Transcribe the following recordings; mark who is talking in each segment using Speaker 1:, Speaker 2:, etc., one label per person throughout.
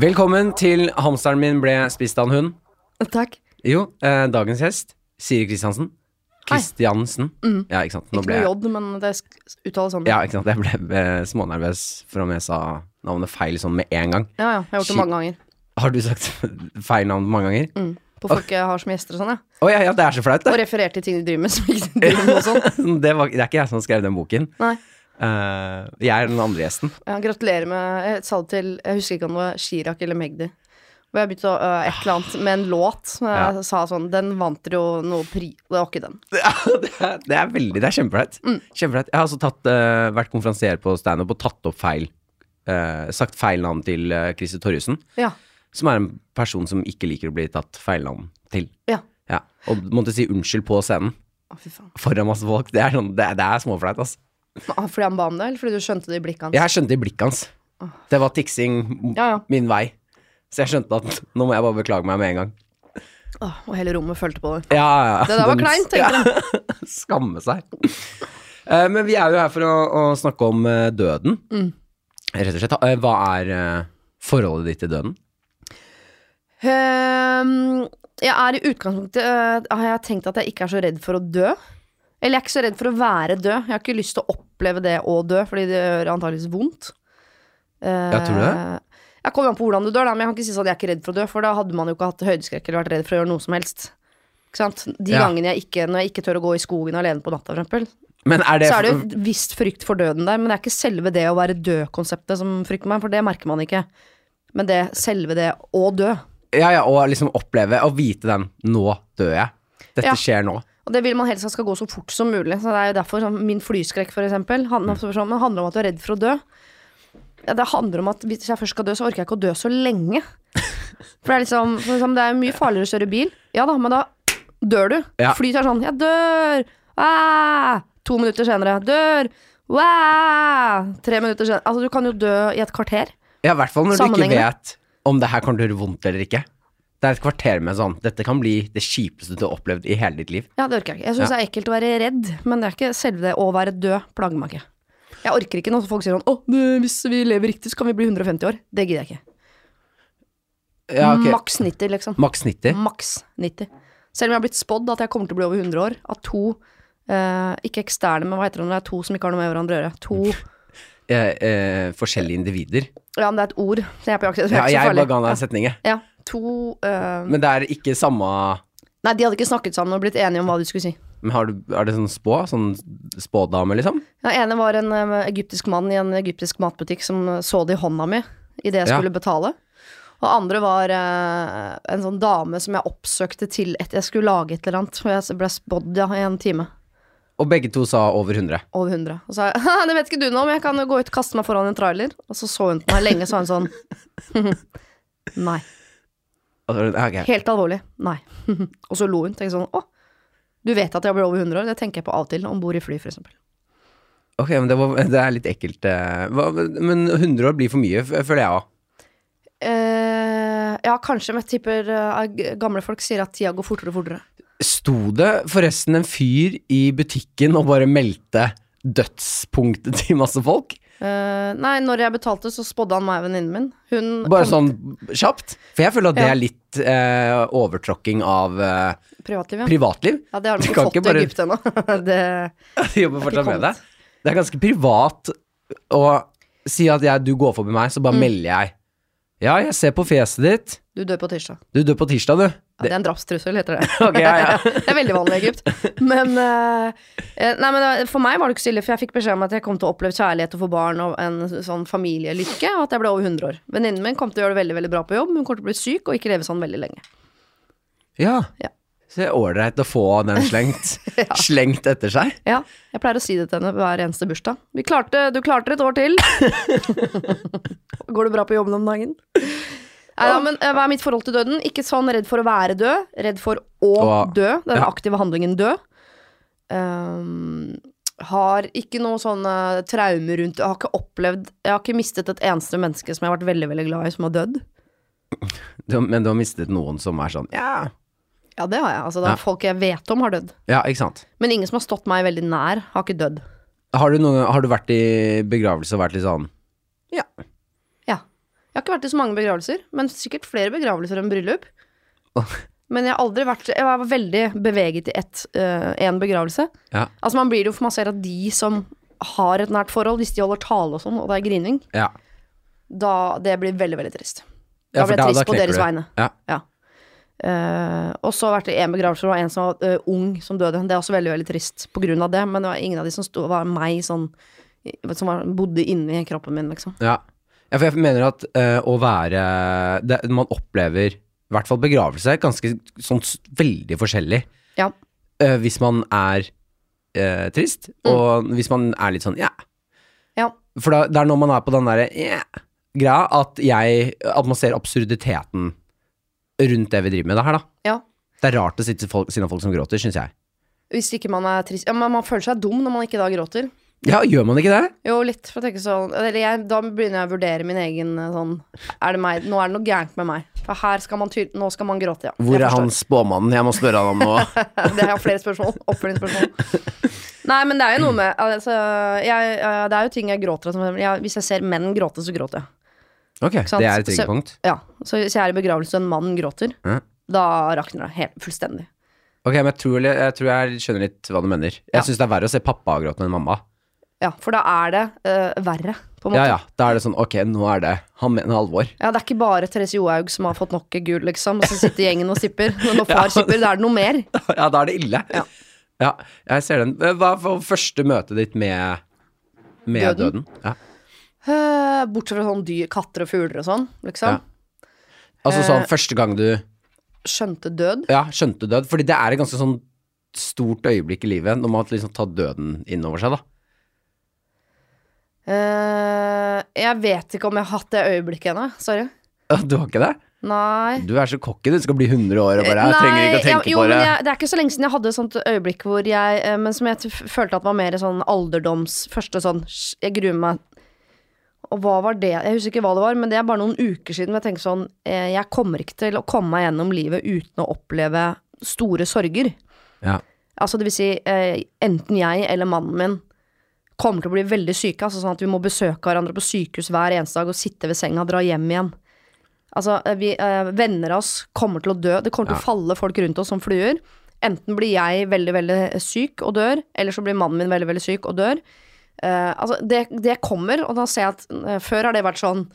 Speaker 1: Velkommen til Hamsteren min ble spist av en hund.
Speaker 2: Takk.
Speaker 1: Jo, eh, dagens gjest, Siri Kristiansen.
Speaker 2: Hei. Mm.
Speaker 1: Kristiansen. Ja, ikke sant. Nå
Speaker 2: Ikke
Speaker 1: ble
Speaker 2: noe
Speaker 1: jeg,
Speaker 2: J, men det sk- uttales sånn.
Speaker 1: ja, ikke sant? jeg ble eh, smånervøs for om jeg sa navnet feil sånn med en gang.
Speaker 2: ja, ja, Jeg har gjort
Speaker 1: Shit.
Speaker 2: det mange ganger.
Speaker 1: Har du sagt feil navn mange ganger? Å
Speaker 2: Mm. På folk jeg har som gjester og sånn, ja.
Speaker 1: ja, ja, det er så flaut,
Speaker 2: Og
Speaker 1: det.
Speaker 2: referert til ting de driver med som ikke de driver med og sånn.
Speaker 1: Det, var, det er ikke jeg som skrev den boken.
Speaker 2: Nei.
Speaker 1: Eh, jeg er den andre gjesten.
Speaker 2: Ja, gratulerer med Jeg sa det til Jeg husker ikke om det var Chirag eller Magdi. Hvor jeg begynte å øh, et eller annet med en låt som jeg
Speaker 1: Ja.
Speaker 2: sa sånn Den vant dere jo noe pri... Det var ikke den.
Speaker 1: Det er, det er veldig, det er kjempeflaut.
Speaker 2: Mm.
Speaker 1: Kjempeflaut. Jeg har også tatt, eh, vært konferansier på standup og tatt opp feil. eh, sagt feil navn til uh, Christer Torjussen,
Speaker 2: Ja.
Speaker 1: som er en person som ikke liker å bli tatt feil navn til.
Speaker 2: Ja.
Speaker 1: Ja. Og måtte si unnskyld på scenen
Speaker 2: Å, fy faen.
Speaker 1: foran masse folk. Det er, sånn, det, er- det er småflaut, altså.
Speaker 2: Men, ah, fordi han ba om det, eller fordi du skjønte det i blikket hans?
Speaker 1: Jeg skjønte i blikket hans. Det var tiksing m-
Speaker 2: Ja, ja.
Speaker 1: min vei. Så jeg skjønte at nå må jeg bare beklage meg med en gang.
Speaker 2: Åh, og hele rommet følte på det.
Speaker 1: Ja, ja, ja.
Speaker 2: Det der var
Speaker 1: Den-
Speaker 2: kleint, tenkte jeg.
Speaker 1: Skamme seg. Eh, men vi er jo her for å, å snakke om eh, døden.
Speaker 2: Mm.
Speaker 1: Rett og slett. Eh, hva er eh, forholdet ditt til døden?
Speaker 2: Ehm, jeg er i utgangspunktet øh, Har jeg tenkt at jeg ikke er så redd for å dø? Eller jeg er ikke så redd for å være død. Jeg har ikke lyst til å oppleve det å dø, fordi det gjør antakeligvis vondt.
Speaker 1: Ja, tror du det?
Speaker 2: Eh, Jeg kommer an på hvordan du dør, da, men jeg kan ikke si sånn at jeg er ikke redd for å dø, for da hadde man jo ikke hatt høydeskrekk eller vært redd for å gjøre noe som helst. Ikke sant? De
Speaker 1: Ja.
Speaker 2: gangene jeg ikke, når jeg ikke tør å gå i skogen alene på natta, for eksempel,
Speaker 1: Men er det,
Speaker 2: så er det jo et visst frykt for døden der, men det er ikke selve det å være død-konseptet som frykter meg, for det merker man ikke. Men det selve det å dø.
Speaker 1: Ja, ja, å liksom oppleve og vite den Nå dør jeg. Dette
Speaker 2: Ja.
Speaker 1: skjer nå.
Speaker 2: Og det vil man helst at skal gå så fort som mulig. Så det er jo derfor sånn, Min flyskrekk, for eksempel, handler, sånn, men handler om at du er redd for å dø. Ja, det handler om at hvis jeg først skal dø, så orker jeg ikke å dø så lenge. For det er liksom, for liksom Det er mye farligere å kjøre bil. Ja da, men da dør du.
Speaker 1: Ja.
Speaker 2: Fly tar sånn Jeg dør! Ah! To minutter senere. Dør! Wow! Tre minutter senere. Altså, du kan jo dø i et kvarter.
Speaker 1: Ja, I hvert fall når du ikke
Speaker 2: Sammenhengende.
Speaker 1: vet om det her kommer til å gjøre vondt eller ikke. Det er et kvarter med sånn Dette kan bli det kjipeste du har opplevd i hele ditt liv.
Speaker 2: Ja, det orker jeg ikke. Jeg syns det er ekkelt å være redd, men det er ikke selve det å være død plager meg ikke. Jeg orker ikke når folk sier sånn 'Å, det- hvis vi lever riktig, så kan vi bli 150 år'. Det gidder jeg ikke.
Speaker 1: Ja, ok.
Speaker 2: Maks 90, liksom.
Speaker 1: Maks 90.
Speaker 2: Maks 90. Selv om jeg har blitt spådd at jeg kommer til å bli over 100 år av to eh, Ikke eksterne, men hva heter det når det er to som ikke har noe med hverandre å gjøre? To
Speaker 1: Eh, eh, forskjellige individer.
Speaker 2: Ja, men det er et ord, så jeg er på jakt etter
Speaker 1: Ja,
Speaker 2: det. er ikke så
Speaker 1: jeg
Speaker 2: farlig.
Speaker 1: bare ga deg en setning, jeg.
Speaker 2: Ja. To eh,
Speaker 1: Men det er ikke samme
Speaker 2: Nei, de hadde ikke snakket sammen og blitt enige om hva de skulle si.
Speaker 1: Men har du, er det sånn spå? Sånn spådame, liksom?
Speaker 2: Den ene var en eh, egyptisk mann i en egyptisk matbutikk som eh, så det i hånda mi idet jeg
Speaker 1: Ja.
Speaker 2: skulle betale. Og andre var eh, en sånn dame som jeg oppsøkte til et Jeg skulle lage et eller annet, og jeg ble spådd ja, i en time.
Speaker 1: Og begge to sa over 100.
Speaker 2: Over 100. Og så sa jeg «Haha, det vet ikke du noe om, jeg kan jo gå ut og kaste meg foran en trailer. Og så så hun på meg lenge, så var hun sånn Nei.
Speaker 1: Altså, ok.
Speaker 2: Helt alvorlig. Nei. og så lo hun. Tenkte sånn Å, du vet at jeg blir over 100 år? Det tenker jeg på av og til om bord i fly, for eksempel.
Speaker 1: ok, men det, var, det er litt ekkelt. eh. Hva, men 100 år blir for mye, f- føler jeg òg.
Speaker 2: Eh, ja, kanskje, men jeg tipper eh, g- gamle folk sier at tida går fortere og fortere.
Speaker 1: Sto det forresten en fyr i butikken og bare meldte dødspunktet til masse folk?
Speaker 2: Eh, nei, når jeg betalte, så spådde han meg og venninnen min. Hun
Speaker 1: Bare
Speaker 2: kom-
Speaker 1: sånn kjapt? For jeg føler at det
Speaker 2: Ja.
Speaker 1: er litt eh, overtråkking av eh,
Speaker 2: Privatliv, ja.
Speaker 1: privatliv.
Speaker 2: ja. Det har de
Speaker 1: Du
Speaker 2: ikke
Speaker 1: kan
Speaker 2: fått
Speaker 1: ikke bare-
Speaker 2: i Egypt ennå.
Speaker 1: De
Speaker 2: Det-
Speaker 1: jobber
Speaker 2: Det er ikke
Speaker 1: fortsatt med det.
Speaker 2: kommet.
Speaker 1: Det er ganske privat å si at jeg, du går forbi meg, så bare melder jeg. Ja, jeg ser på fjeset ditt.
Speaker 2: Du dør på tirsdag.
Speaker 1: Du dør på tirsdag, du.
Speaker 2: Ja, det er en drapstrussel, heter det.
Speaker 1: Ok, ja, ja.
Speaker 2: det er veldig vanlig i Egypt. Men, eh, eh, nei, men det- for meg var det ikke så ille, for jeg fikk beskjed om at jeg kom til å oppleve kjærlighet og få barn og en sånn familielykke, og at jeg ble over 100 år. Venninnen min kom til å gjøre det veldig veldig bra på jobb, men hun kommer til å bli syk og ikke leve sånn veldig lenge.
Speaker 1: Ja.
Speaker 2: Ja.
Speaker 1: Så det er ålreit å få den slengt, slengt etter seg.
Speaker 2: Ja, jeg pleier å si det til henne hver eneste bursdag. Vi klarte, du klarte et år til. Går det bra på jobben om dagen? Nei, ja, men eh, Hva er mitt forhold til døden? Ikke sånn redd for å være død, redd for å
Speaker 1: Å,
Speaker 2: dø. Den
Speaker 1: ja.
Speaker 2: aktive handlingen dø. Ehm, har ikke noe sånn eh, traume rundt Jeg har ikke opplevd Jeg har ikke mistet et eneste menneske som jeg har vært veldig veldig glad i, som har dødd.
Speaker 1: Du, men du har mistet noen som er sånn Ja,
Speaker 2: Ja, det har jeg. Altså, det
Speaker 1: Ja.
Speaker 2: er folk jeg vet om, har dødd.
Speaker 1: ja ikke sant.
Speaker 2: Men ingen som har stått meg veldig nær, har ikke dødd.
Speaker 1: Har du, noen, har du vært i begravelse og vært litt sånn
Speaker 2: Ja. Jeg har ikke vært i så mange begravelser, men sikkert flere begravelser enn bryllup. Men jeg har aldri vært Jeg var veldig beveget i ett, eh, en begravelse.
Speaker 1: Ja.
Speaker 2: Altså Man blir jo for man ser at de som har et nært forhold, hvis de holder tale og sånn, og det er grining,
Speaker 1: Ja.
Speaker 2: da det blir veldig, veldig trist.
Speaker 1: Ja,
Speaker 2: Da
Speaker 1: for
Speaker 2: blir jeg trist på
Speaker 1: knekker
Speaker 2: deres
Speaker 1: du.
Speaker 2: vegne.
Speaker 1: Ja.
Speaker 2: Eh, og så har det vært i en begravelse hvor det var en som var eh, ung, som døde. Det er også veldig veldig trist på grunn av det, men det var ingen av de som sto, var meg sånn som var, bodde inni kroppen min, liksom.
Speaker 1: Ja. ja, for jeg mener at eh, å være det, Man opplever i hvert fall begravelse ganske sånn s- veldig forskjellig.
Speaker 2: Ja.
Speaker 1: Eh, hvis man er eh, trist, og hvis man er litt sånn ja.
Speaker 2: Mm. Ja.
Speaker 1: For da, det er når man er på den derre ja, greia at jeg At man ser absurditeten rundt det vi driver med det her, da.
Speaker 2: ja.
Speaker 1: Det er rart å sitte folk, siden av folk som gråter, syns jeg.
Speaker 2: Hvis ikke man er trist Ja, men man føler seg dum når man ikke da gråter.
Speaker 1: Ja, gjør man ikke det?
Speaker 2: Jo, litt, for å tenke sånn Eller jeg, da begynner jeg å vurdere min egen eh, sånn Er det meg? Nå er det noe gærent med meg. For her skal man ty... Nå skal man gråte, ja.
Speaker 1: Hvor
Speaker 2: Jeg
Speaker 1: er han
Speaker 2: forstår.
Speaker 1: spåmannen? Jeg må spørre han om noe.
Speaker 2: det er flere spørsmål. Oppfølgingsspørsmål. Nei, men det er jo noe med altså, jeg, eh, Det er jo ting jeg gråter av. som- jeg- Hvis jeg ser menn gråte, så gråter jeg.
Speaker 1: Ok, det
Speaker 2: sant?
Speaker 1: er et
Speaker 2: Så-
Speaker 1: triggerpunkt.
Speaker 2: Ja, Så hvis jeg er i begravelse og en mann gråter,
Speaker 1: Ja.
Speaker 2: da rakner det helt fullstendig.
Speaker 1: Ok, men jeg tror, jeg tror jeg skjønner litt hva du mener. Jeg
Speaker 2: Ja.
Speaker 1: syns det er verre å se pappa gråte enn mamma.
Speaker 2: Ja, For da er det eh, verre, på en måte.
Speaker 1: Ja, ja. Da er det sånn, ok, nå er det Han mener alvor.
Speaker 2: Ja, det er ikke bare Therese Johaug som har fått nok gul, liksom, og så sitter gjengen og sipper. Men når far sipper, da er det noe mer.
Speaker 1: ja, da er det ille.
Speaker 2: Ja.
Speaker 1: Ja, jeg ser den. Hva var første møtet ditt med, med døden?
Speaker 2: Døden?
Speaker 1: Ja.
Speaker 2: Eh, Bortsett fra sånn dyr, katter og fugler og sånn, liksom.
Speaker 1: Altså
Speaker 2: Eh.
Speaker 1: sånn første gang du
Speaker 2: Skjønte død.
Speaker 1: ja, skjønte død. Fordi det er et ganske sånn stort øyeblikk i livet når man liksom tar døden inn over seg, da.
Speaker 2: Eh, jeg vet ikke om jeg har hatt det øyeblikket ennå. Sorry.
Speaker 1: Ja, Du har ikke det?
Speaker 2: Nei.
Speaker 1: Du er så cocky, du skal bli 100 år og bare Jeg
Speaker 2: Nei,
Speaker 1: trenger ikke å
Speaker 2: ja,
Speaker 1: tenke
Speaker 2: jo,
Speaker 1: på det.
Speaker 2: men jeg, det er ikke så lenge siden jeg hadde et sånt øyeblikk hvor jeg eh, Men som jeg t- følte at var mer sånn alderdoms Første sånn «Sj, Jeg gruer meg. Og hva var det? Jeg husker ikke hva det var, men det er bare noen uker siden. hvor Jeg tenker sånn eh, Jeg kommer ikke til å komme meg gjennom livet uten å oppleve store sorger.
Speaker 1: Ja.
Speaker 2: Altså det vil si, eh, enten jeg eller mannen min kommer til å bli veldig syke, altså sånn at vi må besøke hverandre på sykehus hver eneste dag og sitte ved senga og dra hjem igjen. Altså, eh, vi, eh, venner av oss kommer til å dø, det kommer til å falle folk rundt oss som fluer. Enten blir jeg veldig, veldig syk og dør, eller så blir mannen min veldig, veldig syk og dør. Eh, altså, det, det kommer, og da ser jeg at eh, før har det vært sånn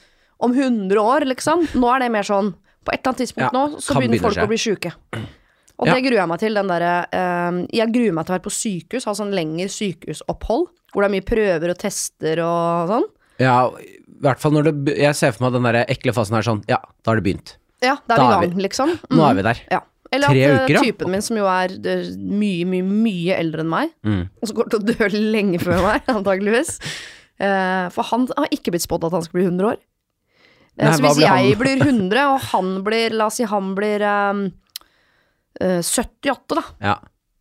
Speaker 2: om 100 år, liksom. Nå er det mer sånn på et eller annet tidspunkt
Speaker 1: Ja,
Speaker 2: nå, så
Speaker 1: kan
Speaker 2: begynner
Speaker 1: begynne
Speaker 2: folk
Speaker 1: å skje.
Speaker 2: å bli syke. Og
Speaker 1: Ja.
Speaker 2: det gruer jeg meg til. Den derre eh, jeg gruer meg til å være på sykehus, ha sånn lengre sykehusopphold. Hvor det er mye prøver og tester og sånn.
Speaker 1: Ja, i hvert fall når det be- Jeg ser for meg den der ekle fasen her sånn Ja, da har det begynt.
Speaker 2: Ja, da er
Speaker 1: Da er
Speaker 2: vi i
Speaker 1: vi-
Speaker 2: gang, liksom.
Speaker 1: Nå
Speaker 2: Mm.
Speaker 1: er vi der.
Speaker 2: Ja. Eller
Speaker 1: Tre
Speaker 2: at eh,
Speaker 1: uker, ja.
Speaker 2: typen min, som jo er eh, mye, mye, mye eldre enn meg,
Speaker 1: Mm.
Speaker 2: og som går til å dø lenge før meg, antageligvis Eh, For han har ikke blitt spådd at han skal bli 100 år. Eh,
Speaker 1: Nei,
Speaker 2: så
Speaker 1: hva
Speaker 2: hvis
Speaker 1: blir han?
Speaker 2: jeg blir 100, og han blir, la oss si han blir eh, eh, 78, da.
Speaker 1: Ja,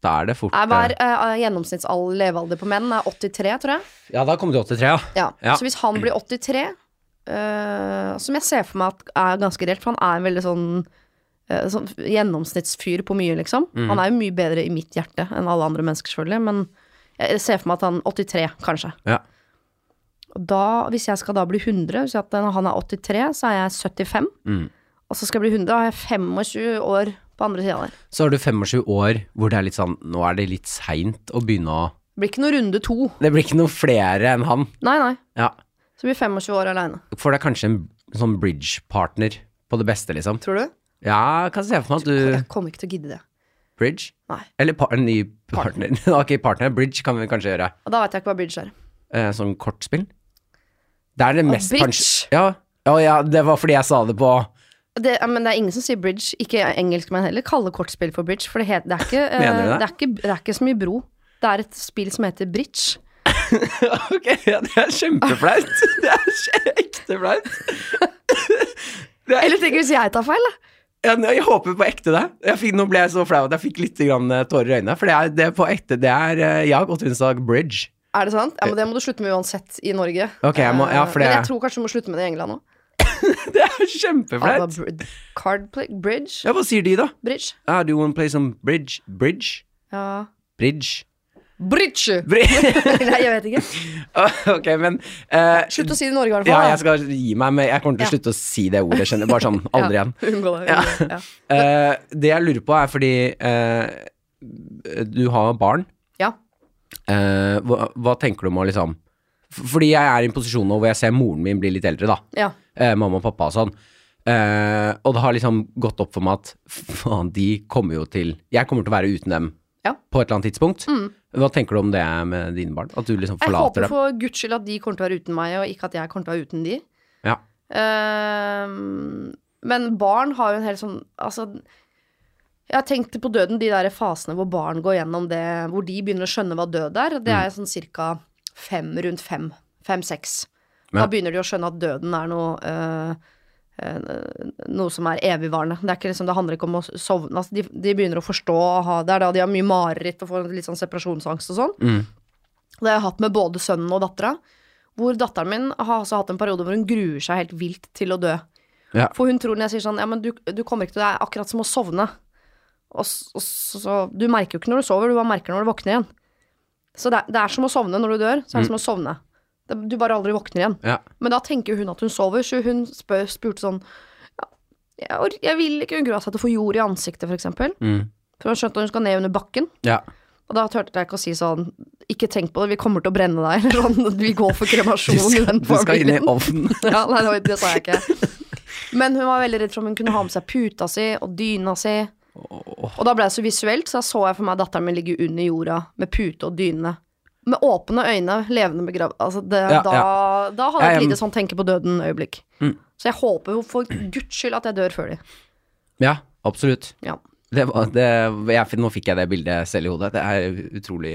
Speaker 1: da er det fort
Speaker 2: Er hver
Speaker 1: eh,
Speaker 2: eh, gjennomsnittsalder levealder på menn er 83, tror jeg.
Speaker 1: eh, Ja, da kom du opp til tre, ja.
Speaker 2: Ja.
Speaker 1: Ja.
Speaker 2: Så hvis han blir 83, eh, som jeg ser for meg at er ganske reelt, for han er en veldig sånn, eh, sånn gjennomsnittsfyr på mye, liksom.
Speaker 1: Mm.
Speaker 2: Han er jo mye bedre i mitt hjerte enn alle andre mennesker, selvfølgelig, men jeg ser for meg at han 83, kanskje.
Speaker 1: Ja.
Speaker 2: Og da, hvis jeg skal da bli 100, hvis jeg at han er 83, så er jeg 75.
Speaker 1: Mm.
Speaker 2: Og så skal jeg bli 100, da har jeg 25 år på andre sida der.
Speaker 1: Så har du 25 år hvor det er litt sånn Nå er det litt seint å begynne å
Speaker 2: Det blir ikke noe runde to.
Speaker 1: Det blir ikke noe flere enn han.
Speaker 2: Nei, nei.
Speaker 1: Ja.
Speaker 2: Så blir 25 år aleine.
Speaker 1: Får deg kanskje en sånn bridge-partner på det beste, liksom.
Speaker 2: Tror du?
Speaker 1: Ja, kan se for meg at
Speaker 2: Jeg
Speaker 1: du
Speaker 2: kommer ikke til å gidde det.
Speaker 1: Bridge?
Speaker 2: Nei.
Speaker 1: Eller par, en ny partner. ok, partner. Bridge kan vi kanskje gjøre.
Speaker 2: Og da veit jeg ikke hva bridge er.
Speaker 1: Eh, sånn kortspill. Det er det mest
Speaker 2: bridge?
Speaker 1: pensj- Ja. Å ja, det var fordi jeg sa det på
Speaker 2: Det, men det er ingen som sier bridge. Ikke engelskmenn heller kaller kortspill for bridge. For det, het, det, er ikke, eh,
Speaker 1: Mener du det?
Speaker 2: det, er ikke, det er ikke så mye bro. Det er et spill som heter bridge.
Speaker 1: Ok, ja, det er kjempeflaut. Det er kje- ekte flaut. Det er
Speaker 2: Eller tenker hvis jeg tar feil, da.
Speaker 1: Ja, nå- jeg håper på ekte det. Jeg fikk, nå ble jeg så flau at jeg fikk litt grann eh, tårer i øynene. For det er, det er på ekte. Det er eh, Jeg har gått onsdag bridge.
Speaker 2: Er det sant? Ja, men Det må du slutte med uansett i Norge.
Speaker 1: Ok, jeg må- ja,
Speaker 2: Eh,
Speaker 1: for det-
Speaker 2: Men jeg tror kanskje du må slutte med det i England òg.
Speaker 1: Det er
Speaker 2: Altså,
Speaker 1: kjempeflaut.
Speaker 2: Card play, bridge?
Speaker 1: Ja, hva sier de, da?
Speaker 2: Bridge?
Speaker 1: Ah, do you want to play some bridge? Bridge?
Speaker 2: Ja.
Speaker 1: Bridge?
Speaker 2: Bridge!
Speaker 1: Bri-
Speaker 2: Nei, jeg vet ikke.
Speaker 1: ok, men eh,
Speaker 2: Slutt å si det i Norge, i hvert
Speaker 1: Ja,
Speaker 2: fall.
Speaker 1: jeg skal gi meg, men jeg kommer til å
Speaker 2: Ja.
Speaker 1: slutte å si det ordet. Skjønner. Bare sånn, aldri igjen.
Speaker 2: Unngå det. unngå det, Ja.
Speaker 1: Eh, det jeg lurer på, er fordi eh, du har barn.
Speaker 2: Ja.
Speaker 1: Eh, hva, hva tenker du om å liksom f- Fordi jeg er i en posisjon nå hvor jeg ser moren min bli litt eldre, da.
Speaker 2: ja.
Speaker 1: Eh, mamma og pappa og sånn. Eh, og det har liksom gått opp for meg at faen, de kommer jo til Jeg kommer til å være uten dem
Speaker 2: Ja. Mm.
Speaker 1: på et eller annet tidspunkt. Hva tenker du om det med dine barn? At du liksom
Speaker 2: Jeg håper
Speaker 1: forlater dem?
Speaker 2: for guds skyld at de kommer til å være uten meg, og ikke at jeg kommer til å være uten de.
Speaker 1: Ja.
Speaker 2: Ehm, men barn har jo en helt sånn Altså, jeg har tenkt på døden, de der fasene hvor barn går gjennom det, hvor de begynner å skjønne hva død er. Det er sånn cirka fem, rundt fem. Fem-seks. Da
Speaker 1: Ja.
Speaker 2: begynner de å skjønne at døden er noe eh, eh, noe som er evigvarende. Det, er ikke liksom, det handler ikke om å sovne. Altså, de, de begynner å forstå og ha Det er da de har mye mareritt og får litt sånn separasjonsangst og sånn.
Speaker 1: Mm.
Speaker 2: Det har jeg hatt med både sønnen og dattera. Hvor datteren min har altså hatt en periode hvor hun gruer seg helt vilt til å dø.
Speaker 1: Ja.
Speaker 2: For hun tror når jeg sier sånn Ja, men du, du kommer ikke til Det er akkurat som å sovne. Og, s- og s- så Du merker jo ikke når du sover, du bare merker når du våkner igjen. Så det, er- det er som å sovne når du dør. Så er det som å sovne. Det, du bare aldri våkner igjen.
Speaker 1: Ja.
Speaker 2: Men da tenker hun at hun sover, så hun spør, spurte sånn ja, jeg, or- jeg vil ikke hun grua seg til å få jord i ansiktet, for eksempel.
Speaker 1: Mm.
Speaker 2: For hun skjønte at hun skal ned under bakken.
Speaker 1: ja.
Speaker 2: Og da turte jeg ikke å si sånn Ikke tenk på det, vi kommer til å brenne deg. Eller sånn, vi går for kremasjon i den
Speaker 1: Du skal inn i
Speaker 2: familien.
Speaker 1: ovnen.
Speaker 2: Ja, nei, det, var, det sa jeg ikke. Men hun var veldig redd for om hun kunne ha med seg puta si og dyna si. Og da ble det så visuelt, så da så jeg for meg datteren min ligge under jorda med pute og dyne. Med åpne øyne, levende begravd. Altså det,
Speaker 1: Ja,
Speaker 2: da, da hadde jeg
Speaker 1: Jeg,
Speaker 2: et
Speaker 1: em,
Speaker 2: lite sånn tenke på døden-øyeblikk.
Speaker 1: Mm.
Speaker 2: Så jeg håper jo for guds skyld at jeg dør før de.
Speaker 1: Ja, absolutt.
Speaker 2: Ja.
Speaker 1: Det var, det, jeg, fin- nå fikk jeg det bildet selv i hodet. Det er utrolig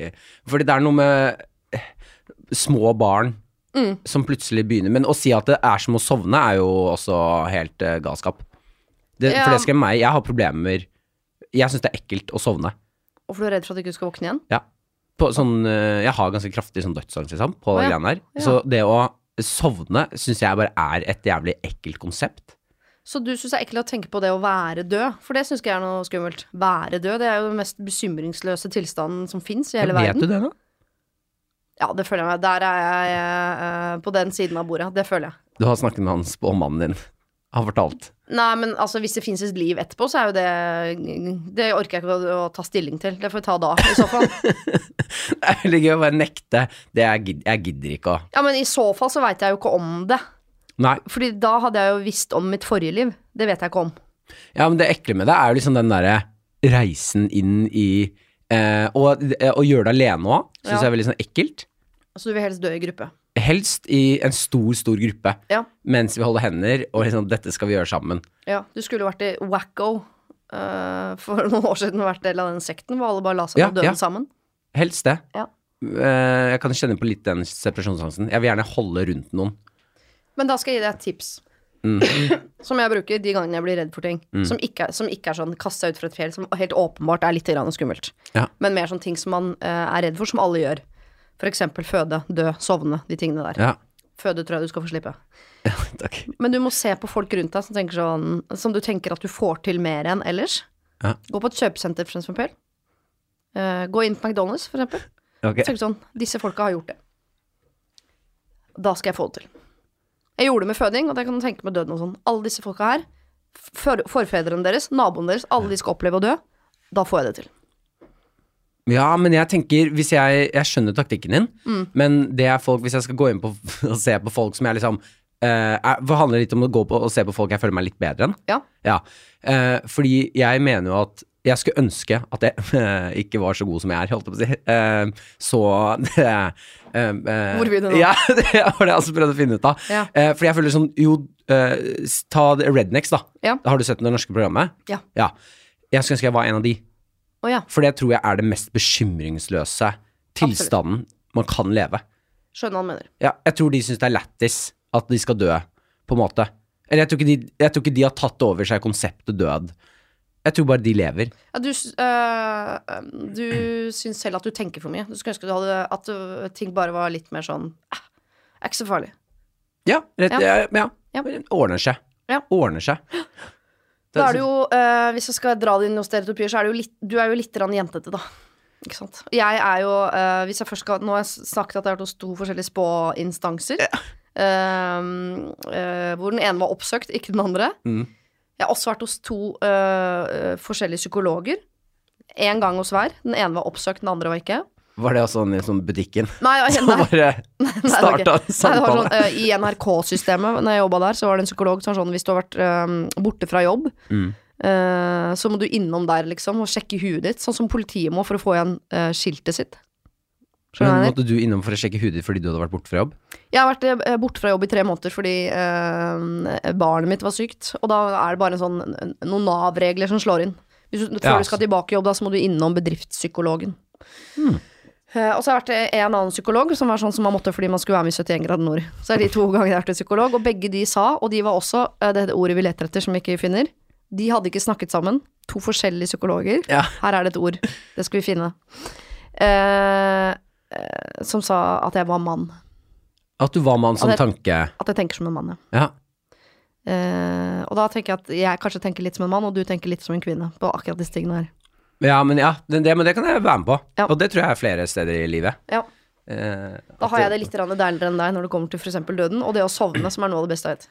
Speaker 1: Fordi det er noe med eh, små barn
Speaker 2: Mm.
Speaker 1: som plutselig begynner Men å si at det er som å sovne, er jo også helt eh, galskap. Det,
Speaker 2: Ja.
Speaker 1: For det skremmer meg. Jeg har problemer Jeg syns det er ekkelt å sovne.
Speaker 2: Og for du er redd for at du ikke skal våkne igjen?
Speaker 1: Ja. På, sånn, eh, jeg har ganske kraftig sånn dødsangst liksom, på
Speaker 2: Å,
Speaker 1: de
Speaker 2: ja.
Speaker 1: greiene her.
Speaker 2: Ja.
Speaker 1: Så det å sovne syns jeg bare er et jævlig ekkelt konsept.
Speaker 2: Så du syns det er ekkelt å tenke på det å være død? For det syns ikke jeg er noe skummelt. Være død, det er jo den mest bekymringsløse tilstanden som fins i hele
Speaker 1: Vet
Speaker 2: verden.
Speaker 1: du det nå?
Speaker 2: Ja, det føler jeg meg. Der er jeg eh, på den siden av bordet. Det føler jeg.
Speaker 1: Du har snakket med hans og mannen din. Han fortalt.
Speaker 2: Nei, men altså, hvis det fins et liv etterpå, så er jo det Det orker jeg ikke å, å ta stilling til. Det får vi ta da, i så fall.
Speaker 1: Det er veldig gøy å bare nekte. Det jeg, gid- jeg gidder ikke å
Speaker 2: Ja, men i så fall så veit jeg jo ikke om det.
Speaker 1: Nei.
Speaker 2: Fordi da hadde jeg jo visst om mitt forrige liv. Det vet jeg ikke om.
Speaker 1: Ja, men det ekle med det er jo liksom den derre reisen inn i eh, og, og gjøre det alene òg, syns
Speaker 2: Ja.
Speaker 1: jeg er veldig sånn ekkelt.
Speaker 2: Så Altså, du vil helst dø i gruppe.
Speaker 1: Helst i en stor, stor gruppe,
Speaker 2: Ja.
Speaker 1: mens vi holder hender og liksom 'dette skal vi gjøre sammen'.
Speaker 2: Ja, du skulle jo vært i Wacko eh, for noen år siden, vært del av den sekten hvor alle bare la seg
Speaker 1: Ja,
Speaker 2: på døden
Speaker 1: ja.
Speaker 2: sammen.
Speaker 1: Helst det.
Speaker 2: Ja.
Speaker 1: Eh, jeg kan kjenne på litt den separasjonsangsten. Jeg vil gjerne holde rundt noen.
Speaker 2: Men da skal jeg gi deg et tips.
Speaker 1: Mm.
Speaker 2: som jeg bruker de gangene jeg blir redd for ting. Som, ikke, er- som ikke er sånn kaste seg ut fra et fjell, som helt åpenbart er litt grann skummelt.
Speaker 1: Ja.
Speaker 2: Men mer sånn ting som man eh, er redd for, som alle gjør. For eksempel føde, dø, sovne, de tingene der.
Speaker 1: Ja.
Speaker 2: Føde tror jeg du skal få slippe.
Speaker 1: Takk.
Speaker 2: Men du må se på folk rundt deg som, tenker sånn, som du tenker at du får til mer enn ellers.
Speaker 1: Ja.
Speaker 2: Gå på et kjøpesenter, for eksempel. Eh, gå inn på McDonald's, for eksempel.
Speaker 1: Ok.
Speaker 2: Så tenkte jeg sånn, disse folka har gjort det. Da skal jeg få det til. Jeg gjorde det med føding, og det kan du tenke med døden og sånn. Alle disse folka her, for, forfedrene deres, naboene deres, alle de skal oppleve å dø. Da får jeg det til.
Speaker 1: Ja, men jeg tenker hvis jeg, jeg skjønner taktikken din,
Speaker 2: Mm.
Speaker 1: men det er folk Hvis jeg skal gå inn på og se på folk som jeg liksom eh, er, For det handler litt om å gå på og se på folk jeg føler meg litt bedre enn.
Speaker 2: Ja.
Speaker 1: Ja. Eh, fordi jeg mener jo at jeg skulle ønske at jeg eh, ikke var så god som jeg er, holdt jeg på å si. Eh, så det eh,
Speaker 2: Hvor vil du nå?
Speaker 1: Ja, det var det jeg også prøvde å finne ut av.
Speaker 2: Ja.
Speaker 1: Eh, fordi jeg føler sånn Jo, eh, s- ta det- Rednecks, da.
Speaker 2: Ja.
Speaker 1: Har du sett det norske programmet?
Speaker 2: Ja.
Speaker 1: ja. Jeg skulle ønske jeg var en av de.
Speaker 2: Å ja,
Speaker 1: For det tror jeg er det mest bekymringsløse tilstanden man kan leve.
Speaker 2: skjønner hva han mener.
Speaker 1: Ja, jeg tror de syns det er lættis at de skal dø, på en måte. Eller jeg tror, ikke de, jeg tror ikke de har tatt over seg konseptet død. Jeg tror bare de lever.
Speaker 2: Ja, du, s- øh, du syns selv at du tenker for mye. Du skulle ønske du hadde, at øh, ting bare var litt mer sånn eh, Er ikke så farlig.
Speaker 1: Ja, rett,
Speaker 2: Ja.
Speaker 1: ja. ja.
Speaker 2: Ja.
Speaker 1: Det Ordner seg.
Speaker 2: Ja.
Speaker 1: Ordner seg.
Speaker 2: eh, Da er det jo, øh, Hvis jeg skal dra det inn i noen stereotypier, så er det jo litt, du er jo litt grann jentete, da. Ikke sant? Jeg er jo, eh, hvis jeg først skal, Nå har jeg snakket at jeg har vært hos to forskjellige spåinstanser. eh, eh, hvor den ene var oppsøkt, ikke den andre.
Speaker 1: Mm.
Speaker 2: Jeg har også vært hos to eh, eh, forskjellige psykologer. Én gang hos hver. Den ene var oppsøkt, den andre var ikke.
Speaker 1: Var det også sånn i sånn butikken?
Speaker 2: Nei, jeg-
Speaker 1: Så
Speaker 2: nei,
Speaker 1: bare
Speaker 2: nei, det var ikke-
Speaker 1: starta en
Speaker 2: Nei, det var
Speaker 1: samtale.
Speaker 2: sånn, eh, I NRK-systemet, når jeg jobba der, så var det en psykolog som var sånn Hvis du har vært eh, borte fra jobb,
Speaker 1: Mm.
Speaker 2: eh, så må du innom der, liksom, og sjekke huet ditt. Sånn som politiet må for å få igjen eh, skiltet sitt. Skjønner du hva jeg
Speaker 1: Men
Speaker 2: mener?
Speaker 1: måtte du innom for å sjekke hudet ditt fordi du hadde vært borte fra jobb?
Speaker 2: Jeg har vært eh, borte fra jobb i tre måneder fordi eh, barnet mitt var sykt. Og da er det bare en sånn, n- noen Nav-regler som slår inn. Hvis du, før
Speaker 1: Ja,
Speaker 2: du skal tilbake i jobb, da, så må du innom bedriftspsykologen.
Speaker 1: Hmm.
Speaker 2: Eh, og så har jeg vært eh, en annen psykolog som var sånn som man måtte fordi man skulle være med i 71 grader nord. Så er de to gangene jeg har vært hos psykolog, og begge de sa, og de var også eh, det ordet vi leter etter som vi ikke finner, de hadde ikke snakket sammen. To forskjellige psykologer.
Speaker 1: Ja.
Speaker 2: Her er det et ord. Det skal vi finne. Eh, eh, som sa at jeg var mann.
Speaker 1: At du var med han som
Speaker 2: Ja, det-
Speaker 1: tanke...
Speaker 2: At jeg tenker som en mann, ja.
Speaker 1: Ja.
Speaker 2: Eh, og da tenker jeg at jeg kanskje tenker litt som en mann, og du tenker litt som en kvinne på akkurat disse tingene her.
Speaker 1: ja, men ja, det, det, men det kan jeg være med på.
Speaker 2: Ja.
Speaker 1: Og det tror jeg er flere steder i livet.
Speaker 2: Ja.
Speaker 1: Eh,
Speaker 2: Da
Speaker 1: at
Speaker 2: har jeg det litt grann deiligere enn deg når det kommer til f.eks. døden, og det å sovne, som er noe av det beste jeg vet.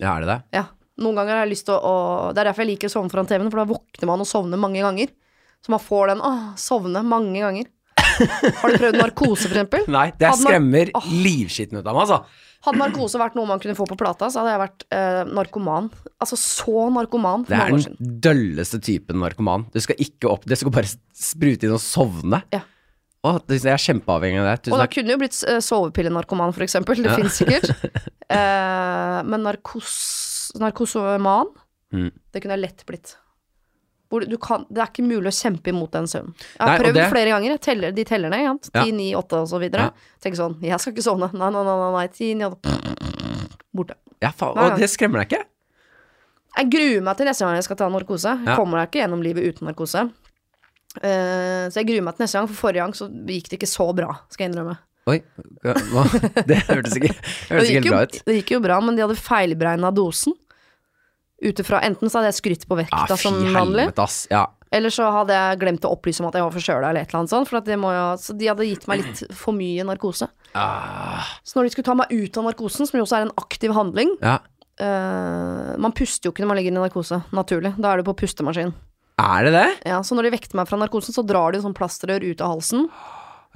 Speaker 1: Ja, er det det?
Speaker 2: Ja. Noen ganger har jeg lyst til å, å Det er derfor jeg liker å sovne foran TV-en, for da våkner man og sovner mange ganger. Så man får den åh, sovne mange ganger. Har du prøvd narkose, f.eks.?
Speaker 1: Nei, det
Speaker 2: Hadde man-
Speaker 1: skremmer
Speaker 2: Åh.
Speaker 1: livskitten ut av meg, altså.
Speaker 2: Hadde narkose vært noe man kunne få på plata, så hadde jeg vært eh, narkoman. Altså så narkoman for
Speaker 1: Det er
Speaker 2: mange år siden.
Speaker 1: den dølleste typen narkoman. Du skal ikke opp Det skal bare sprute inn og sovne.
Speaker 2: Ja.
Speaker 1: Å, det- jeg er kjempeavhengig av det.
Speaker 2: Og
Speaker 1: Tusen
Speaker 2: da
Speaker 1: takk.
Speaker 2: kunne jo blitt eh, sovepillenarkoman, for eksempel. Det finnes sikkert. Eh, men narkos, narkosoman,
Speaker 1: Mm.
Speaker 2: det kunne jeg lett blitt. Hvor du kan, det er ikke mulig å kjempe imot den søvnen. Jeg
Speaker 1: Nei,
Speaker 2: har
Speaker 1: og
Speaker 2: prøvd
Speaker 1: det-
Speaker 2: flere ganger. Jeg teller, de teller ned. ikke sant?
Speaker 1: Ja.
Speaker 2: 10, 9, 8 og så videre.
Speaker 1: Ja.
Speaker 2: Tenker sånn Jeg skal ikke sovne. Nei, nei, nei. nei, nei 10, 9, 8. Borte.
Speaker 1: Ja, faen,
Speaker 2: Nei,
Speaker 1: og
Speaker 2: ja.
Speaker 1: det skremmer deg ikke?
Speaker 2: Jeg gruer meg til neste gang jeg skal ta narkose. Jeg
Speaker 1: Ja.
Speaker 2: Kommer deg ikke gjennom livet uten narkose. Eh, så jeg gruer meg til neste gang, for forrige gang så gikk det ikke så bra, skal jeg innrømme.
Speaker 1: Oi, hva? Det hørtes ikke, det hørtes
Speaker 2: Det
Speaker 1: ikke helt
Speaker 2: gikk, jo,
Speaker 1: bra ut.
Speaker 2: det gikk jo bra, men de hadde feilberegna dosen. Ut ifra Enten så hadde jeg skrytt på vekta
Speaker 1: Ja, Ah, fy
Speaker 2: som vanlig,
Speaker 1: helvete, ass. Ja.
Speaker 2: eller så hadde jeg glemt å opplyse om at jeg var forkjøla eller et eller annet sånt. For at det må jo, så de hadde gitt meg litt for mye narkose.
Speaker 1: Ah,
Speaker 2: Så når de skulle ta meg ut av narkosen, som jo også er en aktiv handling
Speaker 1: ja.
Speaker 2: eh, Man puster jo ikke når man ligger i narkose, naturlig. Da er du på pustemaskin.
Speaker 1: Er det det?
Speaker 2: Ja, så når de vekter meg fra narkosen, så drar de sånn plastrør ut av halsen.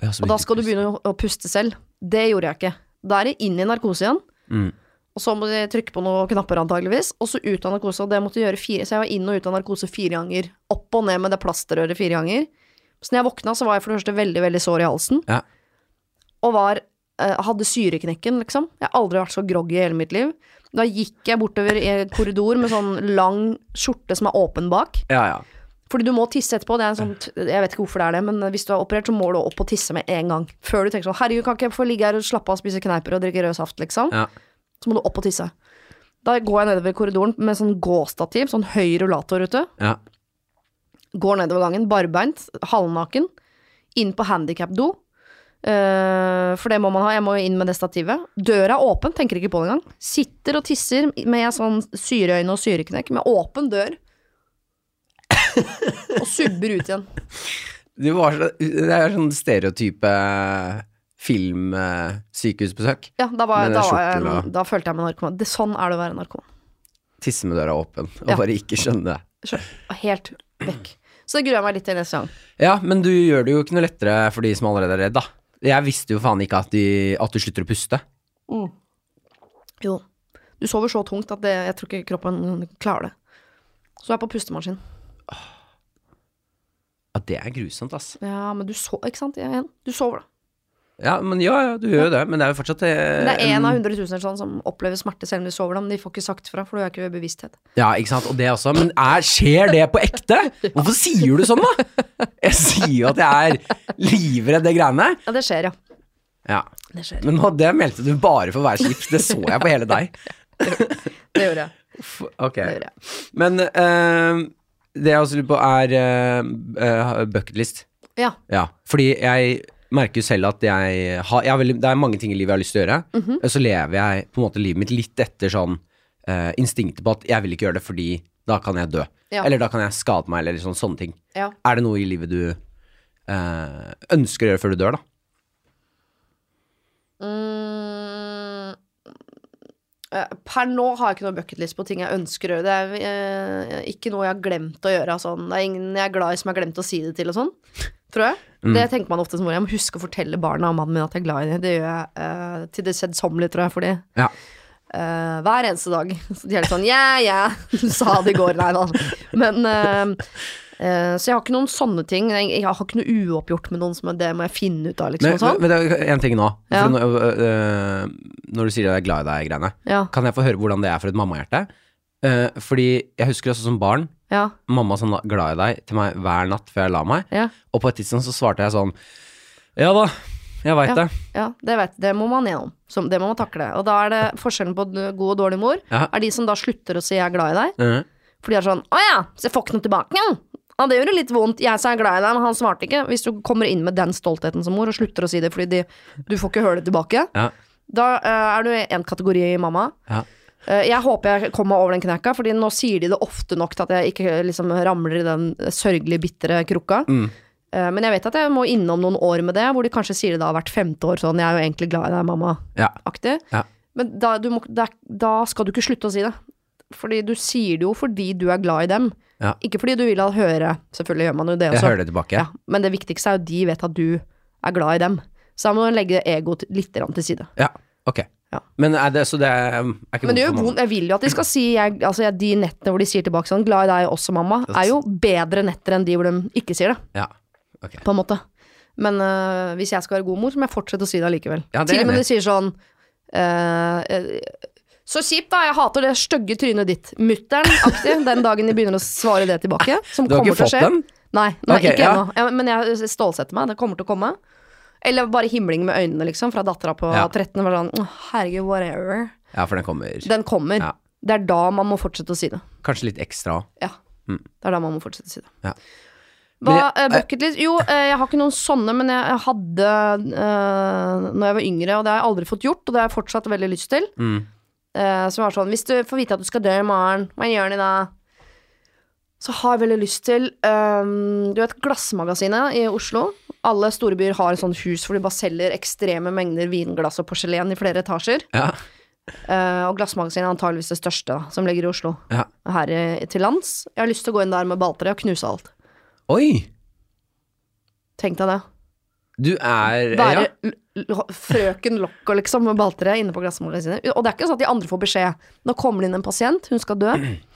Speaker 1: Ja, så
Speaker 2: Og da skal du begynne å- å puste selv. Det gjorde jeg ikke. Da er det inn i narkose igjen.
Speaker 1: Mm.
Speaker 2: Og så må de trykke på noen knapper antageligvis, og så ut av narkose. Og det måtte jeg gjøre fire, så jeg var inn og ut av narkose fire ganger. Opp og ned med det plasterrøret fire ganger. Så når jeg våkna, så var jeg for det første veldig, veldig sår i halsen.
Speaker 1: Ja.
Speaker 2: Og var eh, hadde syreknekken, liksom. Jeg har aldri vært så groggy i hele mitt liv. Da gikk jeg bortover i en korridor med sånn lang skjorte som er åpen bak.
Speaker 1: Ja, ja.
Speaker 2: Fordi du må tisse etterpå. Det er en sånn, t- jeg vet ikke hvorfor det er det, men hvis du er operert, så må du opp og tisse med en gang. Før du tenker sånn Herregud, kan ikke jeg få ligge her og slappe av og spise kneiper og drikke rød saft, liksom?
Speaker 1: Ja.
Speaker 2: Så må du opp og tisse. Da går jeg nedover korridoren med sånn gåstativ, sånn høy rullator ute.
Speaker 1: ja.
Speaker 2: Går nedover gangen, barbeint, halvnaken. Inn på handikap-do. Eh, for det må man ha. Jeg må jo inn med det stativet. Døra er åpen, tenker ikke på det engang. Sitter og tisser med sånn syreøyne og syreknekk, med åpen dør. og subber ut igjen.
Speaker 1: Du var så, det er sånn stereotype filmsykehusbesøk.
Speaker 2: Ja, da, var,
Speaker 1: Med
Speaker 2: da,
Speaker 1: den
Speaker 2: var jeg,
Speaker 1: skjorten og-
Speaker 2: da følte jeg meg narkoman. Det, sånn er det å være narkoman.
Speaker 1: Tisse med døra åpen, og
Speaker 2: Ja.
Speaker 1: bare ikke skjønne det.
Speaker 2: Skjønner. Helt vekk. Så det gruer jeg meg litt til neste gang.
Speaker 1: Ja, men du gjør det jo ikke noe lettere for de som allerede er redd, da. Jeg visste jo faen ikke at, de, at du slutter å puste.
Speaker 2: Jo. Du sover så tungt at det, jeg tror ikke kroppen klarer det. Så er jeg på pustemaskin.
Speaker 1: Ja, det er grusomt, ass.
Speaker 2: Ja, men du sover, ikke sant? Igjen. Du sover, da.
Speaker 1: Ja, men ja, ja, du gjør jo det, men det er jo fortsatt eh,
Speaker 2: Men det er én av hundre tusen eller sånn som opplever smerte selv om de sover, da, men de får ikke sagt fra, for du er ikke ved bevissthet.
Speaker 1: Ja, ikke sant, og det også. Men er, skjer det på ekte? Hvorfor sier du sånn, da? Jeg sier jo at jeg er livredd det greiene.
Speaker 2: Ja, det skjer, ja.
Speaker 1: Ja.
Speaker 2: Det skjer.
Speaker 1: Men nå, det meldte du bare for å være slips, det så jeg på hele deg.
Speaker 2: Det gjorde jeg.
Speaker 1: Uff, Ok.
Speaker 2: Det gjorde jeg.
Speaker 1: Men eh, det jeg også lurer på, er eh, eh, bucketlist.
Speaker 2: Ja.
Speaker 1: Ja, fordi jeg merker jo selv at jeg har jeg har veldig, Det er mange ting i livet jeg har lyst til å gjøre.
Speaker 2: Mhm.
Speaker 1: Og så lever jeg på en måte livet mitt litt etter sånn eh, instinktet på at jeg vil ikke gjøre det fordi da kan jeg dø.
Speaker 2: Ja.
Speaker 1: Eller da kan jeg skade meg, eller sånn, sånne ting.
Speaker 2: Ja.
Speaker 1: Er det noe i livet du eh, ønsker å gjøre før du dør, da.
Speaker 2: Mm, eh, per nå har jeg ikke noe bucketlist på ting jeg ønsker å gjøre. Det er eh, ikke noe jeg har glemt å gjøre. og Sånn. Det er ingen jeg er glad i som jeg har glemt å si det til og sånn. Tror jeg.
Speaker 1: Mm.
Speaker 2: Det tenker man ofte som mor. Jeg må huske å fortelle barna og mannen min at jeg er glad i dem. Det gjør jeg eh, til det kjedsommelige, tror jeg. Fordi
Speaker 1: Ja.
Speaker 2: eh, hver eneste dag. Så de er litt sånn yeah, yeah. Du sa det i går, nei da. Men eh, eh, Så jeg har ikke noen sånne ting. Jeg, jeg har ikke noe uoppgjort med noen som er det må jeg finne ut av, liksom.
Speaker 1: Men,
Speaker 2: og sånn.
Speaker 1: men, men det er en ting nå.
Speaker 2: Ja.
Speaker 1: For nå øh, øh, når du sier at jeg er glad i deg-greiene,
Speaker 2: Ja.
Speaker 1: kan jeg få høre hvordan det er for et mammahjerte? Eh, fordi jeg husker også som barn,
Speaker 2: Ja.
Speaker 1: mamma sa na- glad i deg til meg hver natt før jeg la meg,
Speaker 2: Ja.
Speaker 1: og på et tidspunkt så svarte jeg sånn Ja da, jeg veit det.
Speaker 2: Ja, det vet Det må man gjennom. Som, det må man takle. Og da er det forskjellen på d- god og dårlig mor.
Speaker 1: Ja.
Speaker 2: Er de som da slutter å si 'jeg er glad i deg',
Speaker 1: Mhm.
Speaker 2: for de er sånn 'Å ja, så jeg får ikke noe tilbake', ja. Ja, det gjør det litt vondt. Jeg sa jeg er glad i deg, men han svarte ikke. Hvis du kommer inn med den stoltheten som mor og slutter å si det fordi de, du får ikke høre det tilbake,
Speaker 1: Ja.
Speaker 2: da eh, er du i en kategori mamma.
Speaker 1: Ja.
Speaker 2: Eh, jeg håper jeg kommer meg over den kneika, Fordi nå sier de det ofte nok til at jeg ikke liksom, ramler i den sørgelige, bitre krukka.
Speaker 1: mm.
Speaker 2: Eh, men jeg vet at jeg må innom noen år med det, hvor de kanskje sier det da hvert femte år sånn 'Jeg er jo egentlig glad i deg, mamma'-aktig.
Speaker 1: ja. Ja.
Speaker 2: Men da, du må, det er- da skal du ikke slutte å si det. Fordi du sier det jo fordi du er glad i dem.
Speaker 1: Ja.
Speaker 2: Ikke fordi du vil ha høre. Selvfølgelig gjør man jo det
Speaker 1: Jeg
Speaker 2: også.
Speaker 1: hører det tilbake.
Speaker 2: Altså, Ja, men det viktigste er jo at de vet at du er glad i dem. Så da må du legge egoet til- litt grann til side.
Speaker 1: Ja, ok.
Speaker 2: Ja.
Speaker 1: Men er det, så det er, er ikke
Speaker 2: Men det
Speaker 1: for
Speaker 2: gjør
Speaker 1: mamma.
Speaker 2: vondt. Jeg vil jo at de skal si jeg, altså, jeg, De nettene hvor de sier tilbake sånn 'glad i deg også, mamma', er jo bedre netter enn de hvor de ikke sier det,
Speaker 1: Ja. ok.
Speaker 2: på en måte. Men øh, hvis jeg skal være god mor, så må jeg fortsette å si det allikevel.
Speaker 1: Ja, det er
Speaker 2: Til og med
Speaker 1: enig.
Speaker 2: de sier sånn øh, øh, så kjipt, da. Jeg hater det stygge trynet ditt. Mutter'n-aktig. Den dagen de begynner å svare det tilbake. Som
Speaker 1: Ah, Du har
Speaker 2: kommer
Speaker 1: ikke
Speaker 2: til å
Speaker 1: fått
Speaker 2: skje.
Speaker 1: den?
Speaker 2: Nei, nei
Speaker 1: Ok,
Speaker 2: ikke
Speaker 1: ja.
Speaker 2: ennå. Ja, men jeg stålsetter meg. Det kommer til å komme. Eller bare himling med øynene, liksom, fra dattera på
Speaker 1: Ja.
Speaker 2: 13. Bare sånn, «Åh, herregud, whatever.
Speaker 1: Ja, for den kommer
Speaker 2: Den kommer.
Speaker 1: Ja.
Speaker 2: Det er da man må fortsette å si det.
Speaker 1: kanskje litt ekstra òg.
Speaker 2: Ja. Det er da man må fortsette å si det.
Speaker 1: Mm. Ja.
Speaker 2: Hva,
Speaker 1: Men jeg-
Speaker 2: eh, bucket list? Jo, eh, jeg har ikke noen sånne, men jeg jeg hadde eh, når jeg var yngre, og det har jeg aldri fått gjort, og det har jeg fortsatt veldig lyst til.
Speaker 1: Mm.
Speaker 2: Eh, som var sånn Hvis du får vite at du skal dø i morgen, hva gjør du da? Så har jeg veldig lyst til eh, Du vet Glassmagasinet i Oslo? Alle store byer har et sånt hus hvor de bare selger ekstreme mengder vinglass og porselen i flere etasjer.
Speaker 1: Ja.
Speaker 2: Eh, og Glassmagasinet er antageligvis det største da, som ligger i Oslo.
Speaker 1: ja.
Speaker 2: Her i, til lands. Jeg har lyst til å gå inn der med balltre og knuse alt.
Speaker 1: Oi!
Speaker 2: Tenk deg det.
Speaker 1: Du er
Speaker 2: Være
Speaker 1: ja.
Speaker 2: l- l- frøken Locco, liksom, med balltre inne på glassmagasinet. Og det er ikke sånn at de andre får beskjed. Nå kommer det inn en pasient, hun skal dø.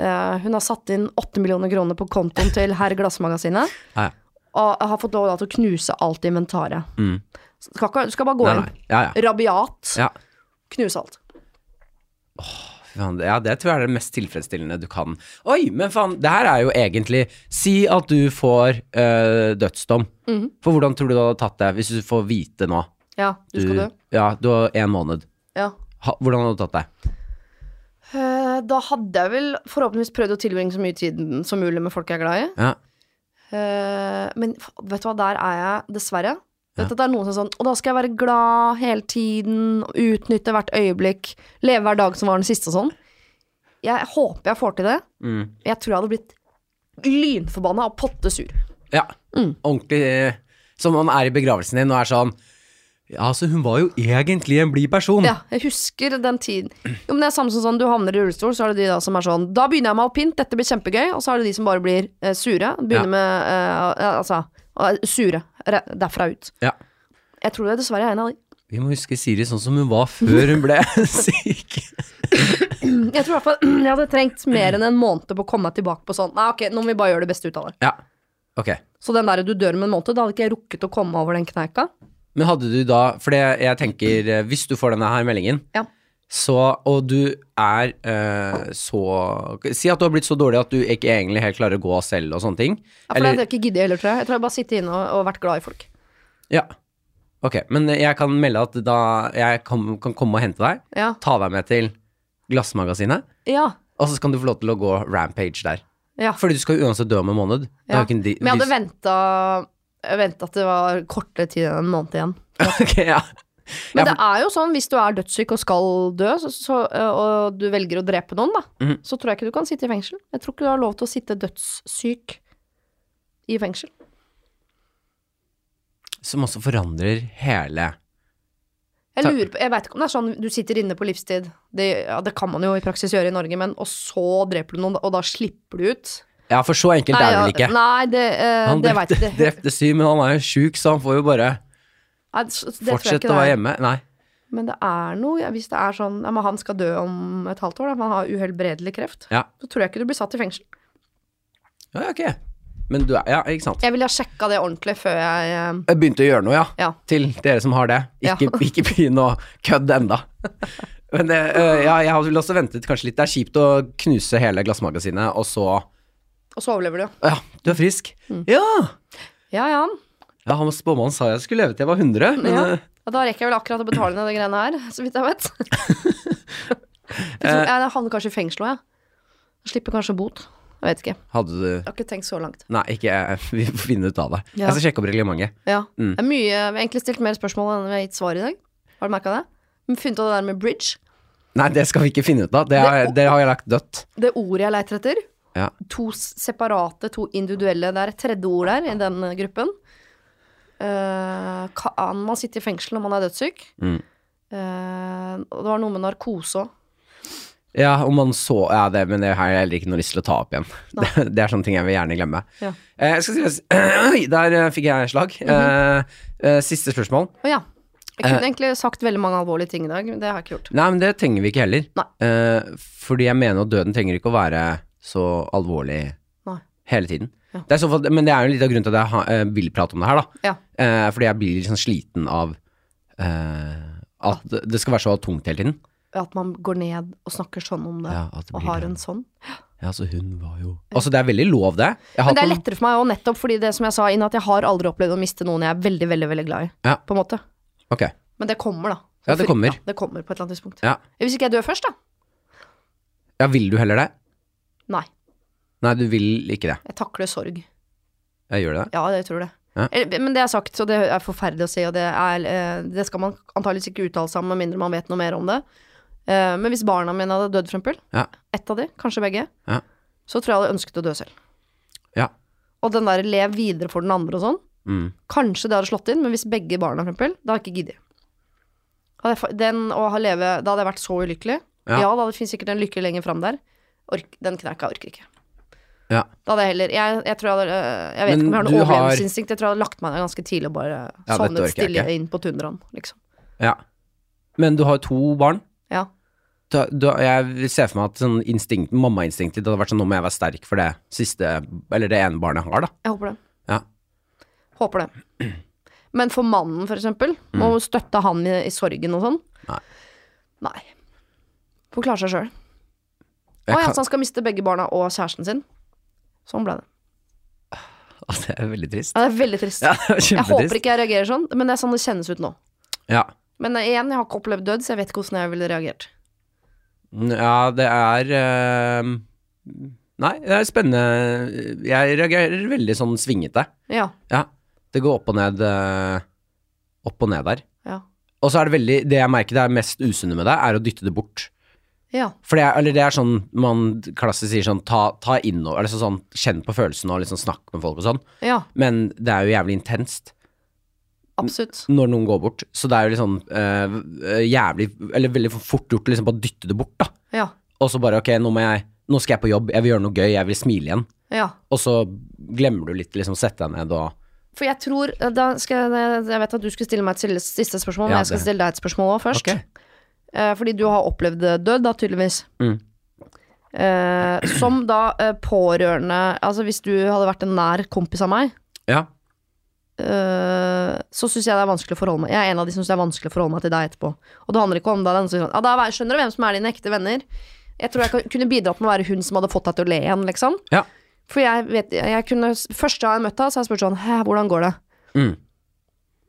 Speaker 2: Eh, hun har satt inn åtte millioner kroner på kontoen til herr Glassmagasinet.
Speaker 1: Ja, ja.
Speaker 2: Og har fått lov da til å knuse alt inventaret.
Speaker 1: Mm.
Speaker 2: Så Skal ikke, du skal bare gå
Speaker 1: Nei, nei. Ja, ja.
Speaker 2: inn rabiat,
Speaker 1: ja.
Speaker 2: knuse alt.
Speaker 1: Fy faen, det- Ja, det tror jeg er det mest tilfredsstillende du kan. Oi, men faen, det her er jo egentlig Si at du får øh, dødsdom.
Speaker 2: Mhm.
Speaker 1: For hvordan tror du du hadde tatt det hvis du får vite nå?
Speaker 2: Ja, du skal dø.
Speaker 1: Ja, du har én måned.
Speaker 2: Ja.
Speaker 1: Ha, hvordan hadde du tatt det?
Speaker 2: Eh, da hadde jeg vel forhåpentligvis prøvd å tilbringe så mye tid som mulig med folk jeg er glad i.
Speaker 1: Ja.
Speaker 2: Eh, men f- vet du hva, der er jeg dessverre. Vet du at det er noen som er sånn Og da skal jeg være glad hele tiden, utnytte hvert øyeblikk, leve hver dag som var den siste og sånn. Jeg håper jeg får til det.
Speaker 1: Mm.
Speaker 2: Jeg tror jeg hadde blitt lynforbanna og potte sur.
Speaker 1: Ja,
Speaker 2: Mm.
Speaker 1: ordentlig eh, Som man er i begravelsen din og er sånn Ja, altså hun var jo egentlig en blid person
Speaker 2: Ja, jeg husker den tiden. Jo, men det er samme som sånn, du havner i rullestol, så er det de da som er sånn Da begynner jeg med alpint, dette blir kjempegøy. Og så er det de som bare blir eh, sure.
Speaker 1: Ja.
Speaker 2: Begynner med eh, ja, Altså, eh, sure. Re- Derfra ut.
Speaker 1: Ja.
Speaker 2: Jeg tror jeg dessverre er en av de.
Speaker 1: Vi må huske Siri sånn som hun var før hun ble syk
Speaker 2: Jeg tror i hvert fall jeg hadde trengt mer enn en måned på å komme meg tilbake på sånn. Nei, ok, nå må vi bare gjøre det beste ut av det.
Speaker 1: Ja, ok
Speaker 2: Så den der du dør om en måned, da hadde ikke jeg rukket å komme over den kneika.
Speaker 1: Men hadde du da, for det jeg tenker eh, Hvis du får denne her meldingen
Speaker 2: Ja.
Speaker 1: så, og du er eh, så Si at du har blitt så dårlig at du ikke egentlig helt klarer å gå selv og sånne ting.
Speaker 2: Ja, for det hadde jeg ikke giddet heller, tror jeg. Jeg tror jeg bare sitter inne og, og vært glad i folk.
Speaker 1: ja. Ok, men jeg kan melde at da jeg kan, kan komme og hente deg,
Speaker 2: Ja.
Speaker 1: ta deg med til Glassmagasinet,
Speaker 2: Ja.
Speaker 1: Og så kan du få lov til å gå rampage der.
Speaker 2: ja.
Speaker 1: Fordi du skal jo uansett dø om en måned. Det
Speaker 2: ja.
Speaker 1: har ikke en di-
Speaker 2: Men jeg hadde
Speaker 1: dis-
Speaker 2: venta Venta at det var kortere tid enn en måned igjen.
Speaker 1: Ok, ja.
Speaker 2: Men
Speaker 1: Ja,
Speaker 2: det er jo sånn, hvis du er dødssyk og skal dø, så, så, øh, og du velger å drepe noen, da,
Speaker 1: Mhm.
Speaker 2: så tror jeg ikke du kan sitte i fengsel. Jeg tror ikke du har lov til å sitte dødssyk i fengsel.
Speaker 1: som også forandrer hele
Speaker 2: Jeg
Speaker 1: Takk.
Speaker 2: lurer på, jeg vet ikke om det er sånn du sitter inne på livstid. Det, ja, det kan man jo i praksis gjøre i Norge, men og så dreper du noen, og da slipper du ut.
Speaker 1: Ja, for så enkelt er det vel
Speaker 2: ja,
Speaker 1: ikke.
Speaker 2: nei det, eh,
Speaker 1: Han
Speaker 2: det veit
Speaker 1: drepte,
Speaker 2: jeg ikke.
Speaker 1: drepte syv, men han er jo sjuk, så han får jo bare
Speaker 2: Nei, det- det tror jeg ikke
Speaker 1: fortsette
Speaker 2: det
Speaker 1: å
Speaker 2: er.
Speaker 1: være hjemme. Nei.
Speaker 2: Men det er noe, ja, hvis det er sånn ja, men han skal dø om et halvt år, da, for han har uhelbredelig kreft,
Speaker 1: Ja.
Speaker 2: så tror jeg ikke du blir satt i fengsel.
Speaker 1: Ja, ja, ok. Men du er Ja, ikke sant.
Speaker 2: Jeg ville ha sjekka det ordentlig før jeg eh,
Speaker 1: Jeg begynte å gjøre noe, ja.
Speaker 2: Ja.
Speaker 1: Til dere som har det.
Speaker 2: Ja.
Speaker 1: Ikke, ikke begynn å kødde enda. Men det, øh, ja, jeg ville også ventet kanskje litt. Det er kjipt å knuse hele glassmagasinet, og så
Speaker 2: Og så overlever du.
Speaker 1: Ja, du er frisk.
Speaker 2: Mm.
Speaker 1: Ja!
Speaker 2: Ja, ja.
Speaker 1: Ja, han Spåmannen sa jeg skulle leve til jeg var 100, men
Speaker 2: ja.
Speaker 1: øh,
Speaker 2: Og da rekker jeg vel akkurat å betale ned de greiene her, så vidt jeg vet. jeg,
Speaker 1: Eh.
Speaker 2: tror, jeg havner kanskje i fengsel òg, jeg. Slipper kanskje bot. Jeg vet ikke. Jeg
Speaker 1: hadde du
Speaker 2: har ikke tenkt så langt.
Speaker 1: Nei, ikke Vi får finne ut av det.
Speaker 2: Ja.
Speaker 1: Jeg skal sjekke opp reglementet.
Speaker 2: Ja.
Speaker 1: Mm.
Speaker 2: Det er mye, Vi har egentlig stilt mer spørsmål enn vi har gitt svar i dag. Har du merka det? Vi har funnet ut av det der med bridge.
Speaker 1: Nei, det skal vi ikke finne ut av. Det har, jeg- det har jeg lagt dødt.
Speaker 2: Det ordet jeg leter etter.
Speaker 1: Ja.
Speaker 2: To s- separate, to individuelle. Det er et tredje ord der i den eh, gruppen. Eh, kan man sitte i fengsel når man er dødssyk?
Speaker 1: Mm.
Speaker 2: Eh, og det var noe med narkose òg.
Speaker 1: Ja, om man så Ja, det, men det har jeg heller ikke noe lyst til å ta opp igjen. Det, det er sånne ting jeg vil gjerne glemme.
Speaker 2: Ja.
Speaker 1: Eh, jeg skal si Oi, der eh, fikk jeg slag.
Speaker 2: Mhm.
Speaker 1: eh, eh, siste spørsmål.
Speaker 2: Å ja. Jeg kunne
Speaker 1: Eh.
Speaker 2: egentlig sagt veldig mange alvorlige ting i dag, men det har jeg ikke gjort.
Speaker 1: Nei, men det trenger vi ikke heller.
Speaker 2: Nei.
Speaker 1: Eh, fordi jeg mener at døden trenger ikke å være så alvorlig
Speaker 2: Nei.
Speaker 1: hele tiden.
Speaker 2: Ja.
Speaker 1: Det er i så fall, men det er jo litt av grunnen til at jeg ha, eh, vil prate om det her, da.
Speaker 2: Ja.
Speaker 1: Eh, fordi jeg blir litt sånn sliten av eh, at det- det skal være så tungt hele tiden.
Speaker 2: At man går ned og snakker sånn om det,
Speaker 1: Ja, at det
Speaker 2: og
Speaker 1: blir
Speaker 2: har
Speaker 1: det.
Speaker 2: en sånn.
Speaker 1: Ja, så hun var jo Altså, det er veldig lov, det. Jeg har
Speaker 2: Men det er
Speaker 1: hatt noen-
Speaker 2: lettere for meg òg, nettopp fordi det som jeg sa inn, at jeg har aldri opplevd å miste noen jeg er veldig, veldig veldig glad i.
Speaker 1: Ja.
Speaker 2: På en måte.
Speaker 1: Ok.
Speaker 2: Men det kommer, da.
Speaker 1: Ja, det kommer.
Speaker 2: Ja, det kommer på et eller annet tidspunkt.
Speaker 1: Ja.
Speaker 2: Hvis ikke jeg dør først, da.
Speaker 1: ja, vil du heller det?
Speaker 2: Nei.
Speaker 1: Nei, du vil ikke det.
Speaker 2: Jeg takler sorg.
Speaker 1: Jeg gjør det.
Speaker 2: Ja, det tror jeg.
Speaker 1: Ja.
Speaker 2: Eller- Men det er sagt, og det er forferdelig å si, og det, er, eh, det skal man antakeligvis ikke uttale seg om med mindre man vet noe mer om det. Eh, Men hvis barna mine hadde dødd, for eksempel,
Speaker 1: Ja.
Speaker 2: ett av de, kanskje begge,
Speaker 1: Ja.
Speaker 2: så tror jeg jeg hadde ønsket å dø selv.
Speaker 1: Ja.
Speaker 2: Og den der lev videre for den andre og sånn,
Speaker 1: Mm.
Speaker 2: kanskje det hadde slått inn, men hvis begge barna, for eksempel, da hadde jeg ikke giddet. Hadde jeg fa- Den å ha leve, da hadde jeg vært så ulykkelig.
Speaker 1: Ja.
Speaker 2: Ja, da det finnes sikkert en lykke lenger fram der. Ork, den knerka orker ikke.
Speaker 1: Ja.
Speaker 2: Da hadde jeg heller Jeg, jeg tror jeg hadde øh, Jeg
Speaker 1: Men
Speaker 2: vet ikke om jeg har
Speaker 1: du
Speaker 2: noe
Speaker 1: har-
Speaker 2: overlevelsesinstinkt. Jeg tror jeg hadde lagt meg ned ganske tidlig og bare
Speaker 1: Ja, dette orker
Speaker 2: sovnet
Speaker 1: jeg
Speaker 2: stille
Speaker 1: ikke.
Speaker 2: inn på tundraen, liksom.
Speaker 1: ja. Men du har jo to barn.
Speaker 2: Ja.
Speaker 1: da, da, jeg ser for meg at sånn instinkt, mammainstinktet det hadde vært sånn nå må jeg være sterk for det siste, eller det ene barnet jeg har, da.
Speaker 2: Jeg håper det.
Speaker 1: Ja.
Speaker 2: Håper det. Men for mannen, for eksempel, må støtte han i, i sorgen og
Speaker 1: Mm.
Speaker 2: sånn.
Speaker 1: Nei.
Speaker 2: Nei. Får klare seg sjøl. Å
Speaker 1: Jeg
Speaker 2: ja,
Speaker 1: kan,
Speaker 2: så han skal miste begge barna og kjæresten sin. Sånn ble det.
Speaker 1: altså, det er veldig trist.
Speaker 2: Ja, det er veldig trist.
Speaker 1: Ja, det er
Speaker 2: jeg håper
Speaker 1: kjempetrist.
Speaker 2: ikke jeg reagerer sånn, men det er sånn det kjennes ut nå.
Speaker 1: Ja.
Speaker 2: Men eh, igjen, jeg har ikke opplevd død, så jeg vet ikke hvordan jeg ville reagert.
Speaker 1: ja, det er ehm, Nei, det er spennende. Jeg reagerer veldig sånn svingete.
Speaker 2: Ja.
Speaker 1: Ja. Det går opp og ned eh, Opp og ned der.
Speaker 2: Ja.
Speaker 1: Og så er det veldig Det jeg merker det er mest usunne med det, er å dytte det bort.
Speaker 2: Ja.
Speaker 1: For det er, eller det er sånn man klassisk sier sånn ta, ta innover Eller sånn, sånn kjenn på følelsene og liksom snakk med folk og sånn.
Speaker 2: ja.
Speaker 1: Men det er jo jævlig intenst
Speaker 2: Absolutt.
Speaker 1: når noen går bort. Så det er jo liksom eh, jævlig Eller veldig fort gjort å liksom bare dytte det bort, da.
Speaker 2: Ja.
Speaker 1: Og så bare ok, nå må jeg Nå skal jeg på jobb, jeg vil gjøre noe gøy, jeg vil smile igjen.
Speaker 2: Ja.
Speaker 1: Og så glemmer du litt, liksom sette deg ned og
Speaker 2: For jeg tror da skal jeg, jeg vet at du skulle stille meg et sille- siste spørsmål, men
Speaker 1: Ja,
Speaker 2: jeg skal
Speaker 1: det.
Speaker 2: stille deg et spørsmål òg først.
Speaker 1: Ok.
Speaker 2: Eh, fordi du har opplevd død, da, tydeligvis.
Speaker 1: Mm.
Speaker 2: Eh, som da eh, pårørende Altså, hvis du hadde vært en nær kompis av meg,
Speaker 1: Ja.
Speaker 2: eh, så syns jeg det er vanskelig å forholde meg Jeg er en av de som syns det er vanskelig å forholde meg til deg etterpå. Og det handler ikke om da det er noen som sier sånn Ja, da er- skjønner du hvem som er dine ekte venner. Jeg tror jeg kan- kunne bidratt med å være hun som hadde fått deg til å le igjen, liksom.
Speaker 1: Ja.
Speaker 2: For jeg vet jeg kunne, Første gang jeg møtte henne, så har jeg spurt sånn Hæ, hvordan går det?
Speaker 1: Mm.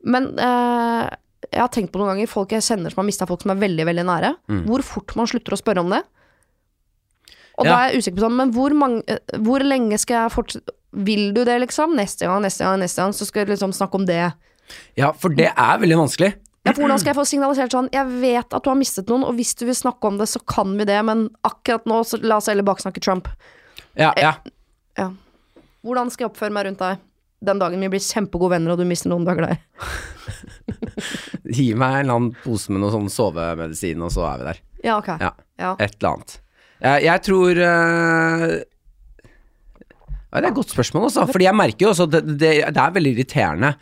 Speaker 2: Men eh, jeg har tenkt på noen ganger folk jeg kjenner som har mista folk som er veldig veldig nære.
Speaker 1: Mm.
Speaker 2: Hvor fort man slutter å spørre om det. Og da
Speaker 1: Ja.
Speaker 2: er jeg usikker på sånn, men hvor, mange, eh, hvor lenge skal jeg fortsette Vil du det, liksom? Neste gang, neste gang, neste gang, så skal jeg liksom snakke om det.
Speaker 1: ja, for det er veldig vanskelig.
Speaker 2: Ja, for hvordan skal jeg få signalisert sånn Jeg vet at du har mistet noen, og hvis du vil snakke om det, så kan vi det, men akkurat nå, så la oss heller baksnakke Trump.
Speaker 1: Ja, ja.
Speaker 2: Hvordan skal jeg oppføre meg rundt deg? den dagen vi blir kjempegode venner, og du mister noen du er glad i.
Speaker 1: Gi meg en eller annen pose med noe sånn sovemedisin, og så er vi der.
Speaker 2: Ja, ok.
Speaker 1: Ja.
Speaker 2: Ja.
Speaker 1: Et eller annet. Eh, Jeg tror eh, ja, Det er et godt spørsmål, altså. Fordi jeg merker jo også at det, det, det er veldig irriterende.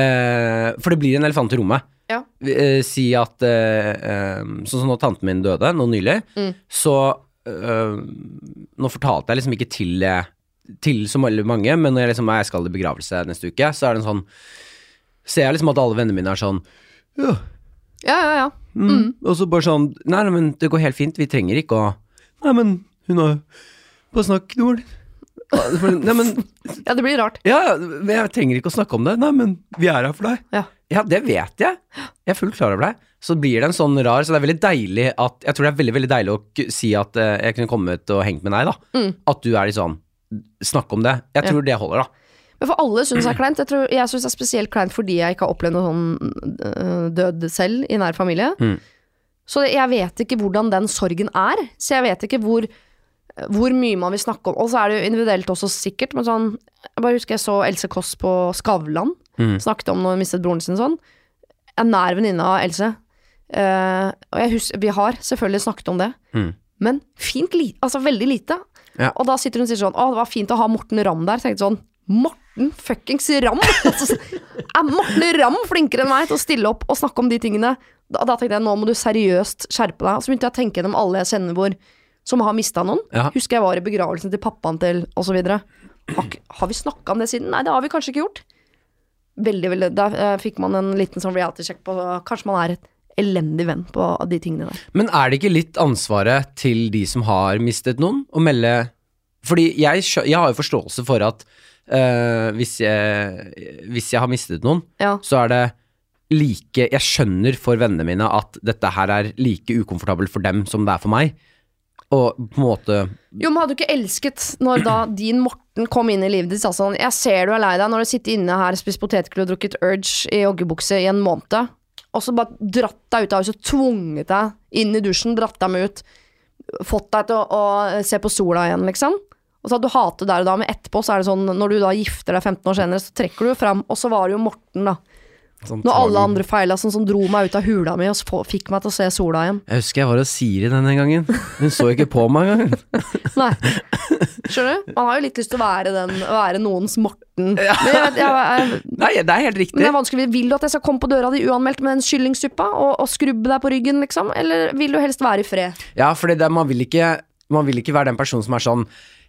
Speaker 1: Eh, for det blir en elefant i rommet.
Speaker 2: Ja.
Speaker 1: Vi, eh, si at eh, eh, Sånn som når tanten min døde nå nylig, så eh, Nå fortalte jeg liksom ikke til det til så veldig mange, men når jeg liksom jeg skal i begravelse neste uke, så er det en sånn Ser jeg liksom at alle vennene mine er sånn Ja,
Speaker 2: Ja, ja, ja.
Speaker 1: Mm. Og så bare sånn Nei, nei, men det går helt fint, vi trenger ikke å Nei, men hun har Bare snakk, Noel. Nei, men
Speaker 2: Ja, det blir rart.
Speaker 1: Ja, men jeg trenger ikke å snakke om det. Nei, men vi er her for deg.
Speaker 2: Ja.
Speaker 1: Ja, det vet jeg. Jeg er fullt klar over det. Så blir det en sånn rar Så det er veldig deilig at Jeg tror det er veldig veldig deilig å k- si at eh, jeg kunne kommet og hengt med deg, da. At du er litt sånn Snakk om det. Jeg tror det holder, da.
Speaker 2: Men for alle syns det er kleint. Jeg, tror, jeg syns det er spesielt kleint fordi jeg ikke har opplevd noe sånn øh, død selv i nær familie.
Speaker 1: Mm.
Speaker 2: Så det, jeg vet ikke hvordan den sorgen er. Så jeg vet ikke hvor, hvor mye man vil snakke om. Og så er det jo individuelt også sikkert, men sånn Jeg bare husker jeg så Else Kåss på Skavlan.
Speaker 1: Mm.
Speaker 2: Snakket om når hun mistet broren sin sånn. Jeg er nær venninne av Else. Eh, og jeg husker, vi har selvfølgelig snakket om det.
Speaker 1: Mm.
Speaker 2: Men fint lite, altså veldig lite.
Speaker 1: Ja.
Speaker 2: Og da sitter hun og sier sånn Å, det var fint å ha Morten Ramm der. Så tenkte jeg sånn Morten fuckings Ramm! Altså, er Morten Ramm flinkere enn meg til å stille opp og snakke om de tingene? Da, da tenkte jeg nå må du seriøst skjerpe deg. Og så begynte jeg å tenke gjennom alle jeg kjenner hvor som har mista noen.
Speaker 1: Ja.
Speaker 2: Husker jeg var i begravelsen til pappaen til, osv. Har, ikke- har vi snakka om det siden? Nei, det har vi kanskje ikke gjort. Veldig, veldig Der eh, fikk man en liten sånn reality-sjekk på Kanskje man er et elendig venn på de tingene der.
Speaker 1: Men er det ikke litt ansvaret til de som har mistet noen, å melde Fordi jeg, skjø- jeg har jo forståelse for at eh, hvis, jeg, hvis jeg har mistet noen,
Speaker 2: Ja.
Speaker 1: så er det like Jeg skjønner for vennene mine at dette her er like ukomfortabelt for dem som det er for meg. Og på en måte
Speaker 2: Jo, men hadde du ikke elsket når da din Morten kom inn i livet ditt? Sa sånn, jeg ser du er lei deg når du sitter inne her, spist potetgull og drukket Urge i joggebukse i en måned. Og så bare dratt deg ut av huset, tvunget deg inn i dusjen, dratt deg med ut. Fått deg til å, å se på sola igjen, liksom. Og så hadde du hatet der og da, men etterpå så er det sånn, når du da gifter deg 15 år senere, så trekker du jo fram, og så var det jo Morten, da.
Speaker 1: sånn
Speaker 2: Når alle
Speaker 1: tvang.
Speaker 2: andre feila, sånn som dro meg ut av hula mi og så få- fikk meg til å se sola igjen.
Speaker 1: Jeg husker jeg var hos Siri denne gangen. Hun så ikke på meg engang.
Speaker 2: Nei. Skjønner du? Man har jo litt lyst til å være, den, å være noens Morten. Men jeg, vet- jeg, jeg,
Speaker 1: Nei, det er helt
Speaker 2: men det
Speaker 1: riktig.
Speaker 2: er vanskelig. Vil du at jeg skal komme på døra di uanmeldt med den kyllingsuppa og, og skrubbe deg på ryggen, liksom? Eller vil du helst være i fred?
Speaker 1: Ja, fordi det, man, vil ikke, man vil ikke være den personen som er sånn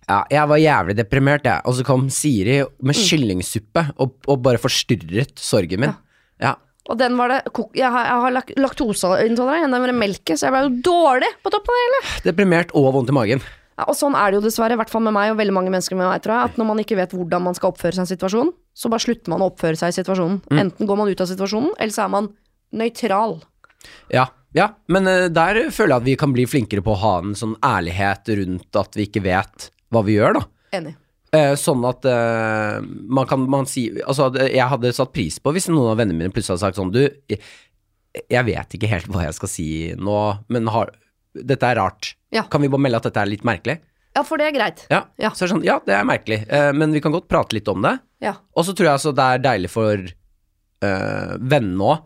Speaker 1: ja, jeg var jævlig deprimert, jeg. Og så kom Siri med kyllingsuppe og, og bare forstyrret sorgen min. Ja.
Speaker 2: Og den var det kok- Jeg har, jeg har lak- laktoseintolerant, den var det melket, så jeg ble jo dårlig på toppen av det hele.
Speaker 1: Deprimert og vondt i magen.
Speaker 2: Ja, og sånn er det jo dessverre, i hvert fall med meg og veldig mange mennesker med meg, tror jeg, at når man ikke vet hvordan man skal oppføre seg i en situasjon, så bare slutter man å oppføre seg i situasjonen. Enten går man ut av situasjonen, eller så er man nøytral.
Speaker 1: Ja, ja. men eh, der føler jeg at vi kan bli flinkere på å ha en sånn ærlighet rundt at vi ikke vet hva vi gjør, da.
Speaker 2: Enig.
Speaker 1: Eh, sånn at eh, man kan man si Altså, at jeg hadde satt pris på hvis noen av vennene mine plutselig hadde sagt sånn Du, jeg, jeg vet ikke helt hva jeg skal si nå, men har Dette er rart.
Speaker 2: Ja.
Speaker 1: Kan vi bare melde at dette er litt merkelig?
Speaker 2: Ja, for det er greit.
Speaker 1: Ja.
Speaker 2: Ja.
Speaker 1: Så er det sånn, ja, det er merkelig, eh, men vi kan godt prate litt om det.
Speaker 2: Ja.
Speaker 1: Og så tror jeg altså det er deilig for eh, vennene òg.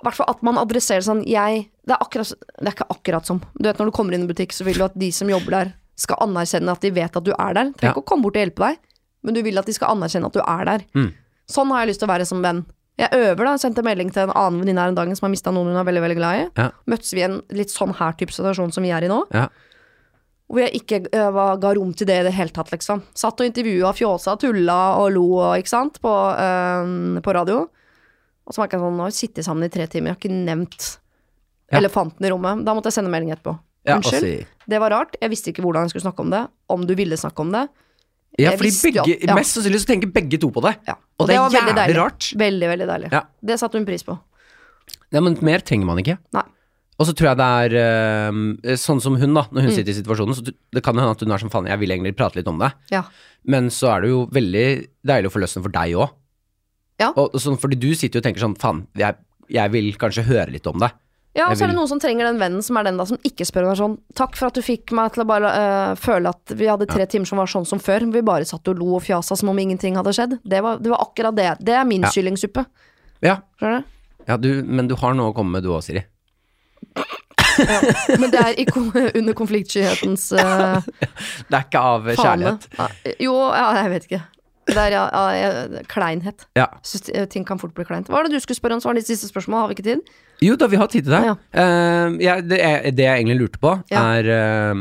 Speaker 2: I hvert fall at man adresserer sånn jeg, det, er akkurat, det er ikke akkurat som Du vet Når du kommer inn i en butikk, så vil du at de som jobber der, skal anerkjenne at de vet at du er der. Trenger
Speaker 1: Ja.
Speaker 2: ikke å komme bort og hjelpe deg, men du vil at de skal anerkjenne at du er der.
Speaker 1: Mm.
Speaker 2: Sånn har jeg lyst til å være som venn. Jeg øver, da. Jeg Sendte melding til en annen venninne her en dag som har mista noen hun er veldig veldig glad i.
Speaker 1: Ja.
Speaker 2: Møttes vi i en litt sånn her type situasjon som vi er i nå.
Speaker 1: Ja.
Speaker 2: Hvor jeg ikke eh, var, ga rom til det i det hele tatt, liksom. Satt og intervjua, fjåsa, tulla og lo, og, ikke sant, på, eh, på radio. Og så merka jeg sånn, nå har vi sittet sammen i tre timer, jeg har ikke nevnt
Speaker 1: Ja.
Speaker 2: elefanten i rommet. Da måtte jeg sende melding etterpå.
Speaker 1: Ja, altså, og
Speaker 2: Unnskyld,
Speaker 1: si-
Speaker 2: det var rart, jeg visste ikke hvordan jeg skulle snakke om det, om du ville snakke om det.
Speaker 1: Ja,
Speaker 2: Jeg
Speaker 1: fordi
Speaker 2: visste jo
Speaker 1: begge,
Speaker 2: at- ja.
Speaker 1: mest sannsynlig så tenker begge to på det.
Speaker 2: Ja.
Speaker 1: Og det,
Speaker 2: var
Speaker 1: er
Speaker 2: veldig
Speaker 1: jævlig
Speaker 2: deilig.
Speaker 1: rart.
Speaker 2: Veldig, veldig deilig.
Speaker 1: Ja.
Speaker 2: Det satte hun pris på.
Speaker 1: Ja, men mer trenger man ikke.
Speaker 2: Nei.
Speaker 1: Og så tror jeg det er eh, sånn som hun, da. Når
Speaker 2: Mm.
Speaker 1: hun sitter i situasjonen, så det kan hende at hun er som faen, jeg vil egentlig prate litt om det.
Speaker 2: Ja.
Speaker 1: Men så er det jo veldig deilig å få løsne for deg òg.
Speaker 2: Ja.
Speaker 1: Og, og sånn, fordi du sitter jo og tenker sånn, faen, jeg, jeg vil kanskje høre litt om det.
Speaker 2: Ja, og
Speaker 1: Jeg
Speaker 2: så er
Speaker 1: vil-
Speaker 2: det noen som trenger den vennen som er den da som ikke spør og er sånn Takk for at du fikk meg til å bare øh, føle at vi hadde tre timer som var sånn som før. Vi bare satt og lo og fjasa som om ingenting hadde skjedd. Det var, det var akkurat det. Det er min
Speaker 1: Ja.
Speaker 2: kyllingsuppe.
Speaker 1: Ja,
Speaker 2: Skjønner du?
Speaker 1: ja du, men du har noe å komme med du òg, Siri.
Speaker 2: Men det er i, kon- under konfliktskyhetens øh,
Speaker 1: Det er ikke av eh,
Speaker 2: fane.
Speaker 1: kjærlighet.
Speaker 2: Ja, jo, ja, jeg vet ikke. Det er ja, ja, jeg- kleinhet.
Speaker 1: Ja.
Speaker 2: Syns ti- ting kan fort bli kleint. Hva var det du skulle spørre om? Så var det ditt siste spørsmål. Har vi ikke tid?
Speaker 1: Jo da, vi har tid til det.
Speaker 2: Ja.
Speaker 1: Eh, jeg- det, jeg- det jeg egentlig lurte på,
Speaker 2: Ja.
Speaker 1: er eh,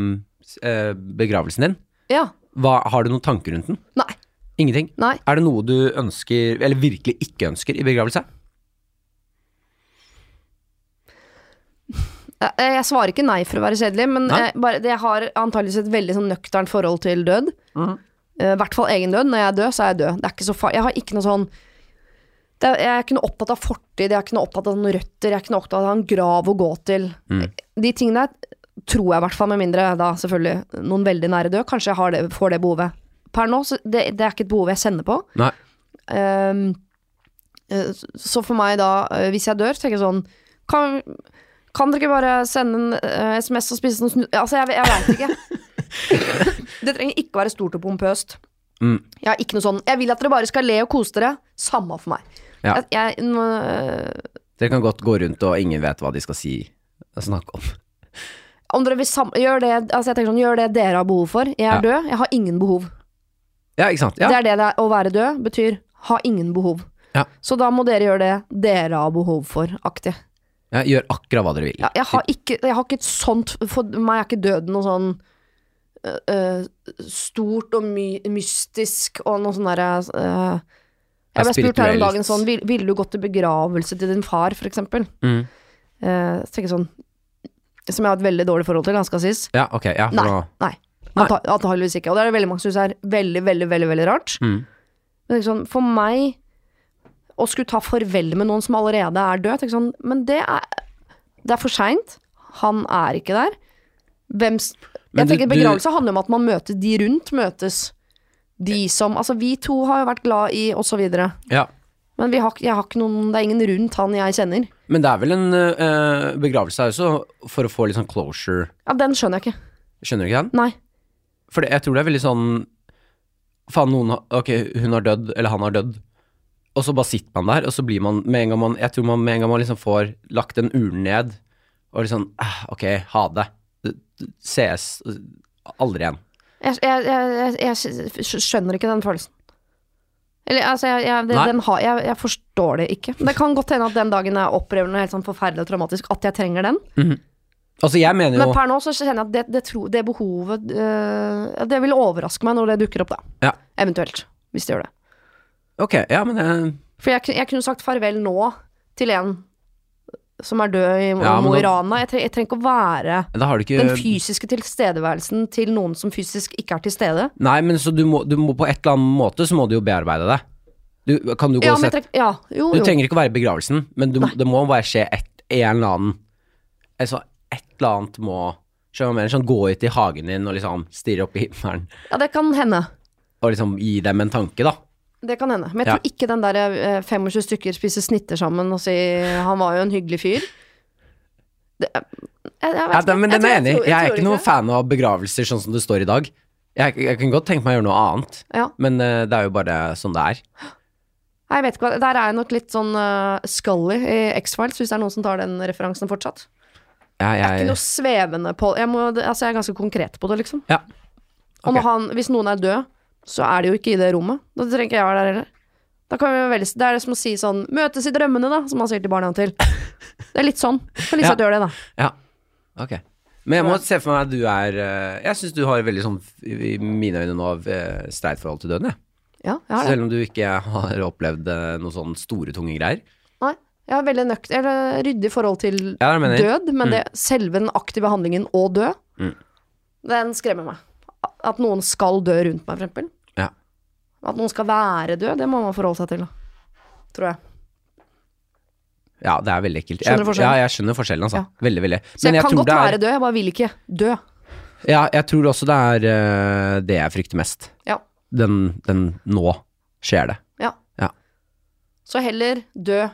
Speaker 1: s- eh, begravelsen din.
Speaker 2: Ja.
Speaker 1: Hva, har du noen tanker rundt den?
Speaker 2: Nei.
Speaker 1: Ingenting?
Speaker 2: Nei.
Speaker 1: Er det noe du ønsker, eller virkelig ikke ønsker, i begravelse?
Speaker 2: Jeg, Eh, jeg svarer ikke nei for å være kjedelig, men
Speaker 1: Nei.
Speaker 2: jeg, bare, det- jeg har antageligvis et veldig sånn nøkternt forhold til død. I Eh, hvert fall egen død. Når jeg er død, så er jeg død. Det er ikke så fa jeg har ikke noe sånn det er, Jeg er ikke noe opptatt av fortid, jeg er ikke noe opptatt av noen røtter, jeg er ikke noe opptatt av en grav å gå til.
Speaker 1: Mm.
Speaker 2: De tingene der tror jeg i hvert fall, med mindre da selvfølgelig noen veldig nære død. Kanskje jeg har det, får det behovet. Per nå, så det, det er ikke et behov jeg kjenner på.
Speaker 1: Nei.
Speaker 2: Ehm, eh, så for meg da, eh, hvis jeg dør, tenker jeg sånn Kan, kan dere ikke bare sende en eh, SMS og spise noen snu... Altså, jeg, jeg veit ikke. det trenger ikke være stort og pompøst.
Speaker 1: Mm.
Speaker 2: Jeg har ikke noe sånn Jeg vil at dere bare skal le og kose dere. Samme for meg.
Speaker 1: Ja.
Speaker 2: Jeg, jeg, nå, eh,
Speaker 1: Dere kan godt gå rundt og ingen vet hva de skal si og snakke om.
Speaker 2: om dere vil sam gjør, det, altså jeg tenker sånn, gjør det dere har behov for. Jeg
Speaker 1: Ja.
Speaker 2: er død, jeg har ingen behov.
Speaker 1: Ja, ikke sant? Ja.
Speaker 2: Det er det det er, å være død betyr ha ingen behov.
Speaker 1: Ja.
Speaker 2: Så da må dere gjøre det dere har behov for, aktig.
Speaker 1: Ja, gjør akkurat hva dere vil.
Speaker 2: Ja, jeg, har ikke, jeg har ikke et sånt For meg er ikke døden noe sånn øh, øh, stort og my mystisk og noe sånn derre øh, Jeg ble
Speaker 1: Ja,
Speaker 2: spurt her om dagen
Speaker 1: spirituelt.
Speaker 2: sånn vil, Ville du gått til begravelse til din far, for eksempel?
Speaker 1: Mm.
Speaker 2: Eh, så tenker jeg sånn Som jeg har et veldig dårlig forhold til, da, skal sies.
Speaker 1: Ja, ok. Ja, for
Speaker 2: Nei.
Speaker 1: nå
Speaker 2: Nei.
Speaker 1: Nei.
Speaker 2: Anta- Antakeligvis ikke. Og det er det veldig mange som syns er veldig, veldig, veldig veldig rart.
Speaker 1: Mm.
Speaker 2: Men tenk sånn, for meg å skulle ta farvel med noen som allerede er død tenk sånn, Men det er, det er for seint. Han er ikke der. Hvem s-
Speaker 1: Men
Speaker 2: Jeg
Speaker 1: du- du-
Speaker 2: tenker Begravelse handler om at man møter de rundt, møtes de som Altså, vi to har jo vært glad i, og så videre.
Speaker 1: ja.
Speaker 2: Men vi har, ikke- jeg har ikke noen, det er ingen rundt han jeg kjenner.
Speaker 1: Men det er vel en eh, begravelse her også, for å få litt sånn closure.
Speaker 2: Ja, Den skjønner jeg ikke.
Speaker 1: Skjønner du ikke den?
Speaker 2: Nei.
Speaker 1: For det- jeg tror det er veldig sånn Faen, noen har Ok, hun har dødd, eller han har dødd. Og så bare sitter man der, og så blir man med en gang man Jeg tror man med en gang man liksom får lagt den urnen ned, og liksom «Ah, Ok, ha det. Sees aldri igjen.
Speaker 2: Jeg, jeg, jeg, jeg, jeg skjønner ikke den følelsen. Eller, altså, jeg, jeg, det,
Speaker 1: Nei.
Speaker 2: den har, jeg, jeg forstår det ikke. Det kan godt hende at den dagen jeg opplever noe helt sånn forferdelig og traumatisk, at jeg trenger den.
Speaker 1: Altså, jeg mener
Speaker 2: Men
Speaker 1: jo
Speaker 2: per nå så kjenner jeg at det, det, tro, det behovet øh, ja, Det vil overraske meg når det dukker opp, da.
Speaker 1: Ja.
Speaker 2: Eventuelt. Hvis det gjør det.
Speaker 1: Ok, ja, men eh, jeg
Speaker 2: For jeg, kun- jeg kunne sagt farvel nå til en som er død i
Speaker 1: Ja, men
Speaker 2: Mo i
Speaker 1: da-
Speaker 2: Rana. Jeg, tre, jeg trenger ikke å være
Speaker 1: Da har du ikke
Speaker 2: den fysiske tilstedeværelsen til noen som fysisk ikke er til stede.
Speaker 1: Nei, men så du må, du må på et eller annet måte så må du jo bearbeide det. Du, kan du gå
Speaker 2: Ja,
Speaker 1: og
Speaker 2: men jeg
Speaker 1: sette
Speaker 2: trenger Ja, jo,
Speaker 1: Du
Speaker 2: jo.
Speaker 1: trenger ikke å være i begravelsen, men du, det må bare skje et, en eller annen Altså, et eller annet må Skjønner du hva jeg mener? Sånn, gå ut i hagen din og liksom stirre opp i himmelen
Speaker 2: Ja, det kan hende.
Speaker 1: og liksom gi dem en tanke, da.
Speaker 2: Det kan hende. Men jeg
Speaker 1: Ja.
Speaker 2: tror ikke den der eh, 25 stykker spiser snitter sammen og sier 'han var jo en hyggelig fyr'. Det, jeg, jeg vet
Speaker 1: Ja,
Speaker 2: ikke.
Speaker 1: da, men den
Speaker 2: tror-
Speaker 1: er jeg enig.
Speaker 2: tror-
Speaker 1: i. Jeg er
Speaker 2: tror
Speaker 1: ikke noen fan av begravelser sånn som det står i dag. Jeg, jeg kan godt tenke meg å gjøre noe annet,
Speaker 2: Ja.
Speaker 1: men eh, det er jo bare sånn det er.
Speaker 2: Nei, Jeg vet ikke hva, Der er jeg nok litt sånn eh, Scully i X-Files, hvis det er noen som tar den referansen fortsatt.
Speaker 1: Jeg,
Speaker 2: Ikke
Speaker 1: jeg,
Speaker 2: noe svevende på jeg, må, altså jeg er ganske konkret på det, liksom.
Speaker 1: Ja.
Speaker 2: Og
Speaker 1: Ok.
Speaker 2: når han, hvis noen er død, så er de jo ikke i det rommet. Da trenger ikke jeg være der heller. Da kan vi velge, det er det som å si sånn 'møtes i drømmene', da, som han sier til barna til. Det er litt sånn. Kan liksom
Speaker 1: Ja.
Speaker 2: gjøre det, da.
Speaker 1: ja. Ok. Men jeg må se for meg at du er eh, Jeg syns du har veldig sånn, i mine øyne nå, eh, streit forhold til døden, jeg.
Speaker 2: Ja, jeg har det.
Speaker 1: Selv om du ikke har opplevd eh, noen sånn store, tunge greier.
Speaker 2: Nei. Jeg har veldig nøkt, eller ryddig forhold til
Speaker 1: Ja, det mener jeg.
Speaker 2: død, men det, selve den aktive handlingen å dø,
Speaker 1: Mm.
Speaker 2: den skremmer meg. At noen skal dø rundt meg, for eksempel.
Speaker 1: Ja.
Speaker 2: At noen skal være død, det må man forholde seg til, da. Tror jeg.
Speaker 1: Ja, det er veldig ekkelt.
Speaker 2: Skjønner du
Speaker 1: Jeg,
Speaker 2: forskjellen?
Speaker 1: ja, jeg skjønner forskjellen, altså.
Speaker 2: Ja.
Speaker 1: Veldig, veldig.
Speaker 2: Så jeg, kan
Speaker 1: tror
Speaker 2: godt
Speaker 1: det
Speaker 2: være død, jeg bare vil ikke dø.
Speaker 1: er, ja, jeg tror også det er eh, det jeg frykter mest.
Speaker 2: Ja.
Speaker 1: Den, den nå skjer det.
Speaker 2: Ja.
Speaker 1: Ja.
Speaker 2: Så heller dø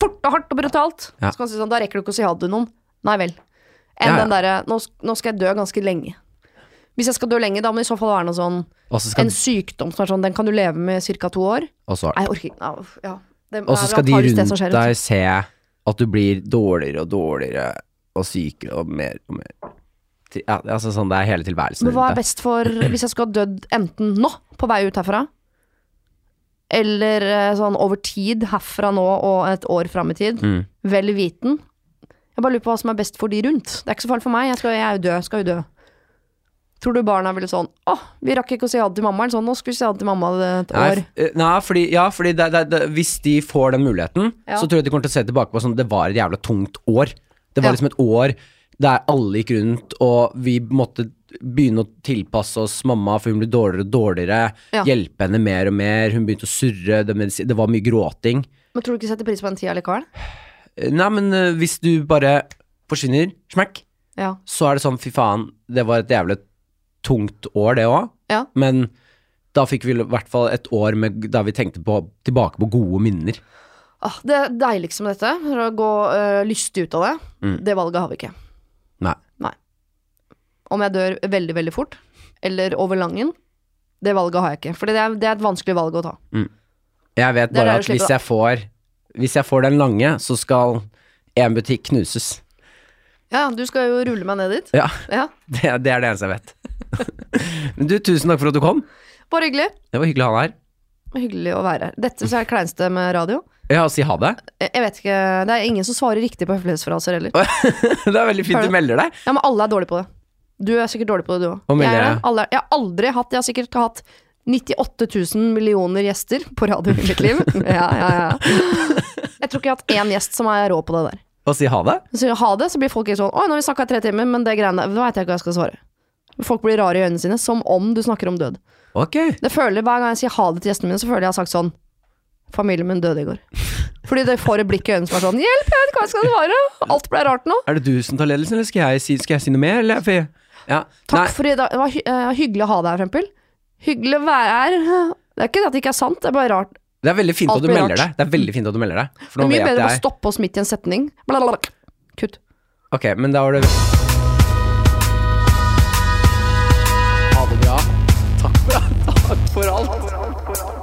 Speaker 2: fort fort og hardt og brutalt.
Speaker 1: Ja.
Speaker 2: Så kan man si sånn, da rekker du ikke å si ha det til noen. Nei vel. Enn
Speaker 1: Ja, ja.
Speaker 2: den derre nå, sk- nå skal jeg dø ganske lenge. Hvis jeg skal dø lenge, da må det i så fall være noe sånn
Speaker 1: Og så skal,
Speaker 2: En sykdom som er sånn, den kan du leve med ca. to år.
Speaker 1: og så,
Speaker 2: Nei, jeg orker ikke. Nei, uff, Ja. Det
Speaker 1: og så
Speaker 2: er
Speaker 1: skal de
Speaker 2: antageligvis det som
Speaker 1: rundt
Speaker 2: skjer,
Speaker 1: deg se at du blir dårligere og dårligere og sykere og mer og mer. Til- Ja, altså sånn, det er hele tilværelsen
Speaker 2: Men hva
Speaker 1: rundt
Speaker 2: er
Speaker 1: deg.
Speaker 2: best for hvis jeg skulle ha dødd enten nå, på vei ut herfra, eller eh, sånn over tid herfra nå og et år fram i tid,
Speaker 1: Mm.
Speaker 2: vel viten? Jeg bare lurer på hva som er best for de rundt. Det er ikke så farlig for meg, jeg, skal, jeg er jo død, skal jo dø. Tror du barna ville sånn Å, vi rakk ikke å si ha det til mamma, eller sånn, nå skulle vi si ha det til mamma et
Speaker 1: Nei,
Speaker 2: år.
Speaker 1: f- eh, nei, fordi, ja, fordi det, det, det, hvis de får den muligheten,
Speaker 2: Ja.
Speaker 1: så tror jeg de kommer til å se tilbake på sånn Det var et jævla tungt år. Det var
Speaker 2: Ja.
Speaker 1: liksom et år der alle gikk rundt, og vi måtte begynne å tilpasse oss mamma, for hun ble dårligere og dårligere.
Speaker 2: Ja.
Speaker 1: Hjelpe henne mer og mer. Hun begynte å surre. Det, medisi- det var mye gråting.
Speaker 2: Men tror du ikke de setter pris på den tida likevel?
Speaker 1: Eh, Nei, men eh, hvis du bare forsvinner, smekk,
Speaker 2: Ja.
Speaker 1: så er det sånn fy faen, det var et jævlig tungt år, det òg.
Speaker 2: Ja.
Speaker 1: Men da fikk vi i hvert fall et år med, der vi tenkte på, tilbake på gode minner.
Speaker 2: Ah, det deiligste med dette, for å gå øh, lystig ut av det,
Speaker 1: Mm.
Speaker 2: det valget har vi ikke.
Speaker 1: Nei.
Speaker 2: om jeg dør veldig, veldig fort, eller over langen, det valget har jeg ikke. For det er, det er et vanskelig valg å ta.
Speaker 1: Jeg vet
Speaker 2: Det er
Speaker 1: bare
Speaker 2: der
Speaker 1: at
Speaker 2: du slipper
Speaker 1: hvis jeg, får, hvis jeg får den lange, så skal en butikk knuses.
Speaker 2: Ja, du skal jo rulle meg ned dit.
Speaker 1: Ja,
Speaker 2: Ja,
Speaker 1: det, er- det er det eneste jeg vet. Men du, tusen takk for at du kom.
Speaker 2: Bare hyggelig.
Speaker 1: Det var hyggelig å ha deg her.
Speaker 2: Hyggelig å være her. Dette synes jeg er det kleinste med radio.
Speaker 1: Ja, og si ha det.
Speaker 2: Jeg jeg vet ikke, Det er ingen som svarer riktig på høflighetsfraser heller.
Speaker 1: Det er veldig fint du melder deg.
Speaker 2: Ja, Men alle er dårlige på det. Du er sikkert dårlig på det, du òg.
Speaker 1: Hva mener
Speaker 2: Jeg, er
Speaker 1: jeg?
Speaker 2: det. Alle er- jeg har aldri hatt Jeg har sikkert hatt 98 000 millioner gjester på radio i mitt liv. Ja, ja, ja. Jeg tror ikke jeg har hatt én gjest som er rå på det der.
Speaker 1: Og si ha det.
Speaker 2: Så sier jeg ha det, så blir folk helt sånn Oi, nå har vi snakka i tre timer, men det greiene der, nå veit jeg ikke hva jeg skal svare. Folk blir rare i øynene sine, som om du snakker om død.
Speaker 1: Ok.
Speaker 2: Det føler Hver gang jeg sier ha det til gjestene mine, så føler jeg jeg har sagt sånn Familien min døde i går. Fordi det får et blikk i øynene som er sånn Hjelp, jeg vet ikke hva jeg skal svare! Alt ble rart nå.
Speaker 1: Er det du som tar ledelsen, eller skal jeg si, skal jeg si noe mer? Eller? For jeg- Ja.
Speaker 2: Takk
Speaker 1: Nei.
Speaker 2: for i dag. Det var hy eh, hyggelig å ha deg her, for eksempel. Hyggelig å være her. Det er ikke det at det ikke er sant, det er bare rart.
Speaker 1: Det er veldig fint at
Speaker 2: Alt
Speaker 1: du
Speaker 2: blir
Speaker 1: melder deg.
Speaker 2: rart.
Speaker 1: Det er veldig fint at du melder deg. For nå
Speaker 2: Det er mye
Speaker 1: vet
Speaker 2: bedre å
Speaker 1: jeg
Speaker 2: stoppe oss midt i en setning. Blablabla. Kutt.
Speaker 1: Ok, men da var det Ha det bra. Takk for, takk for alt.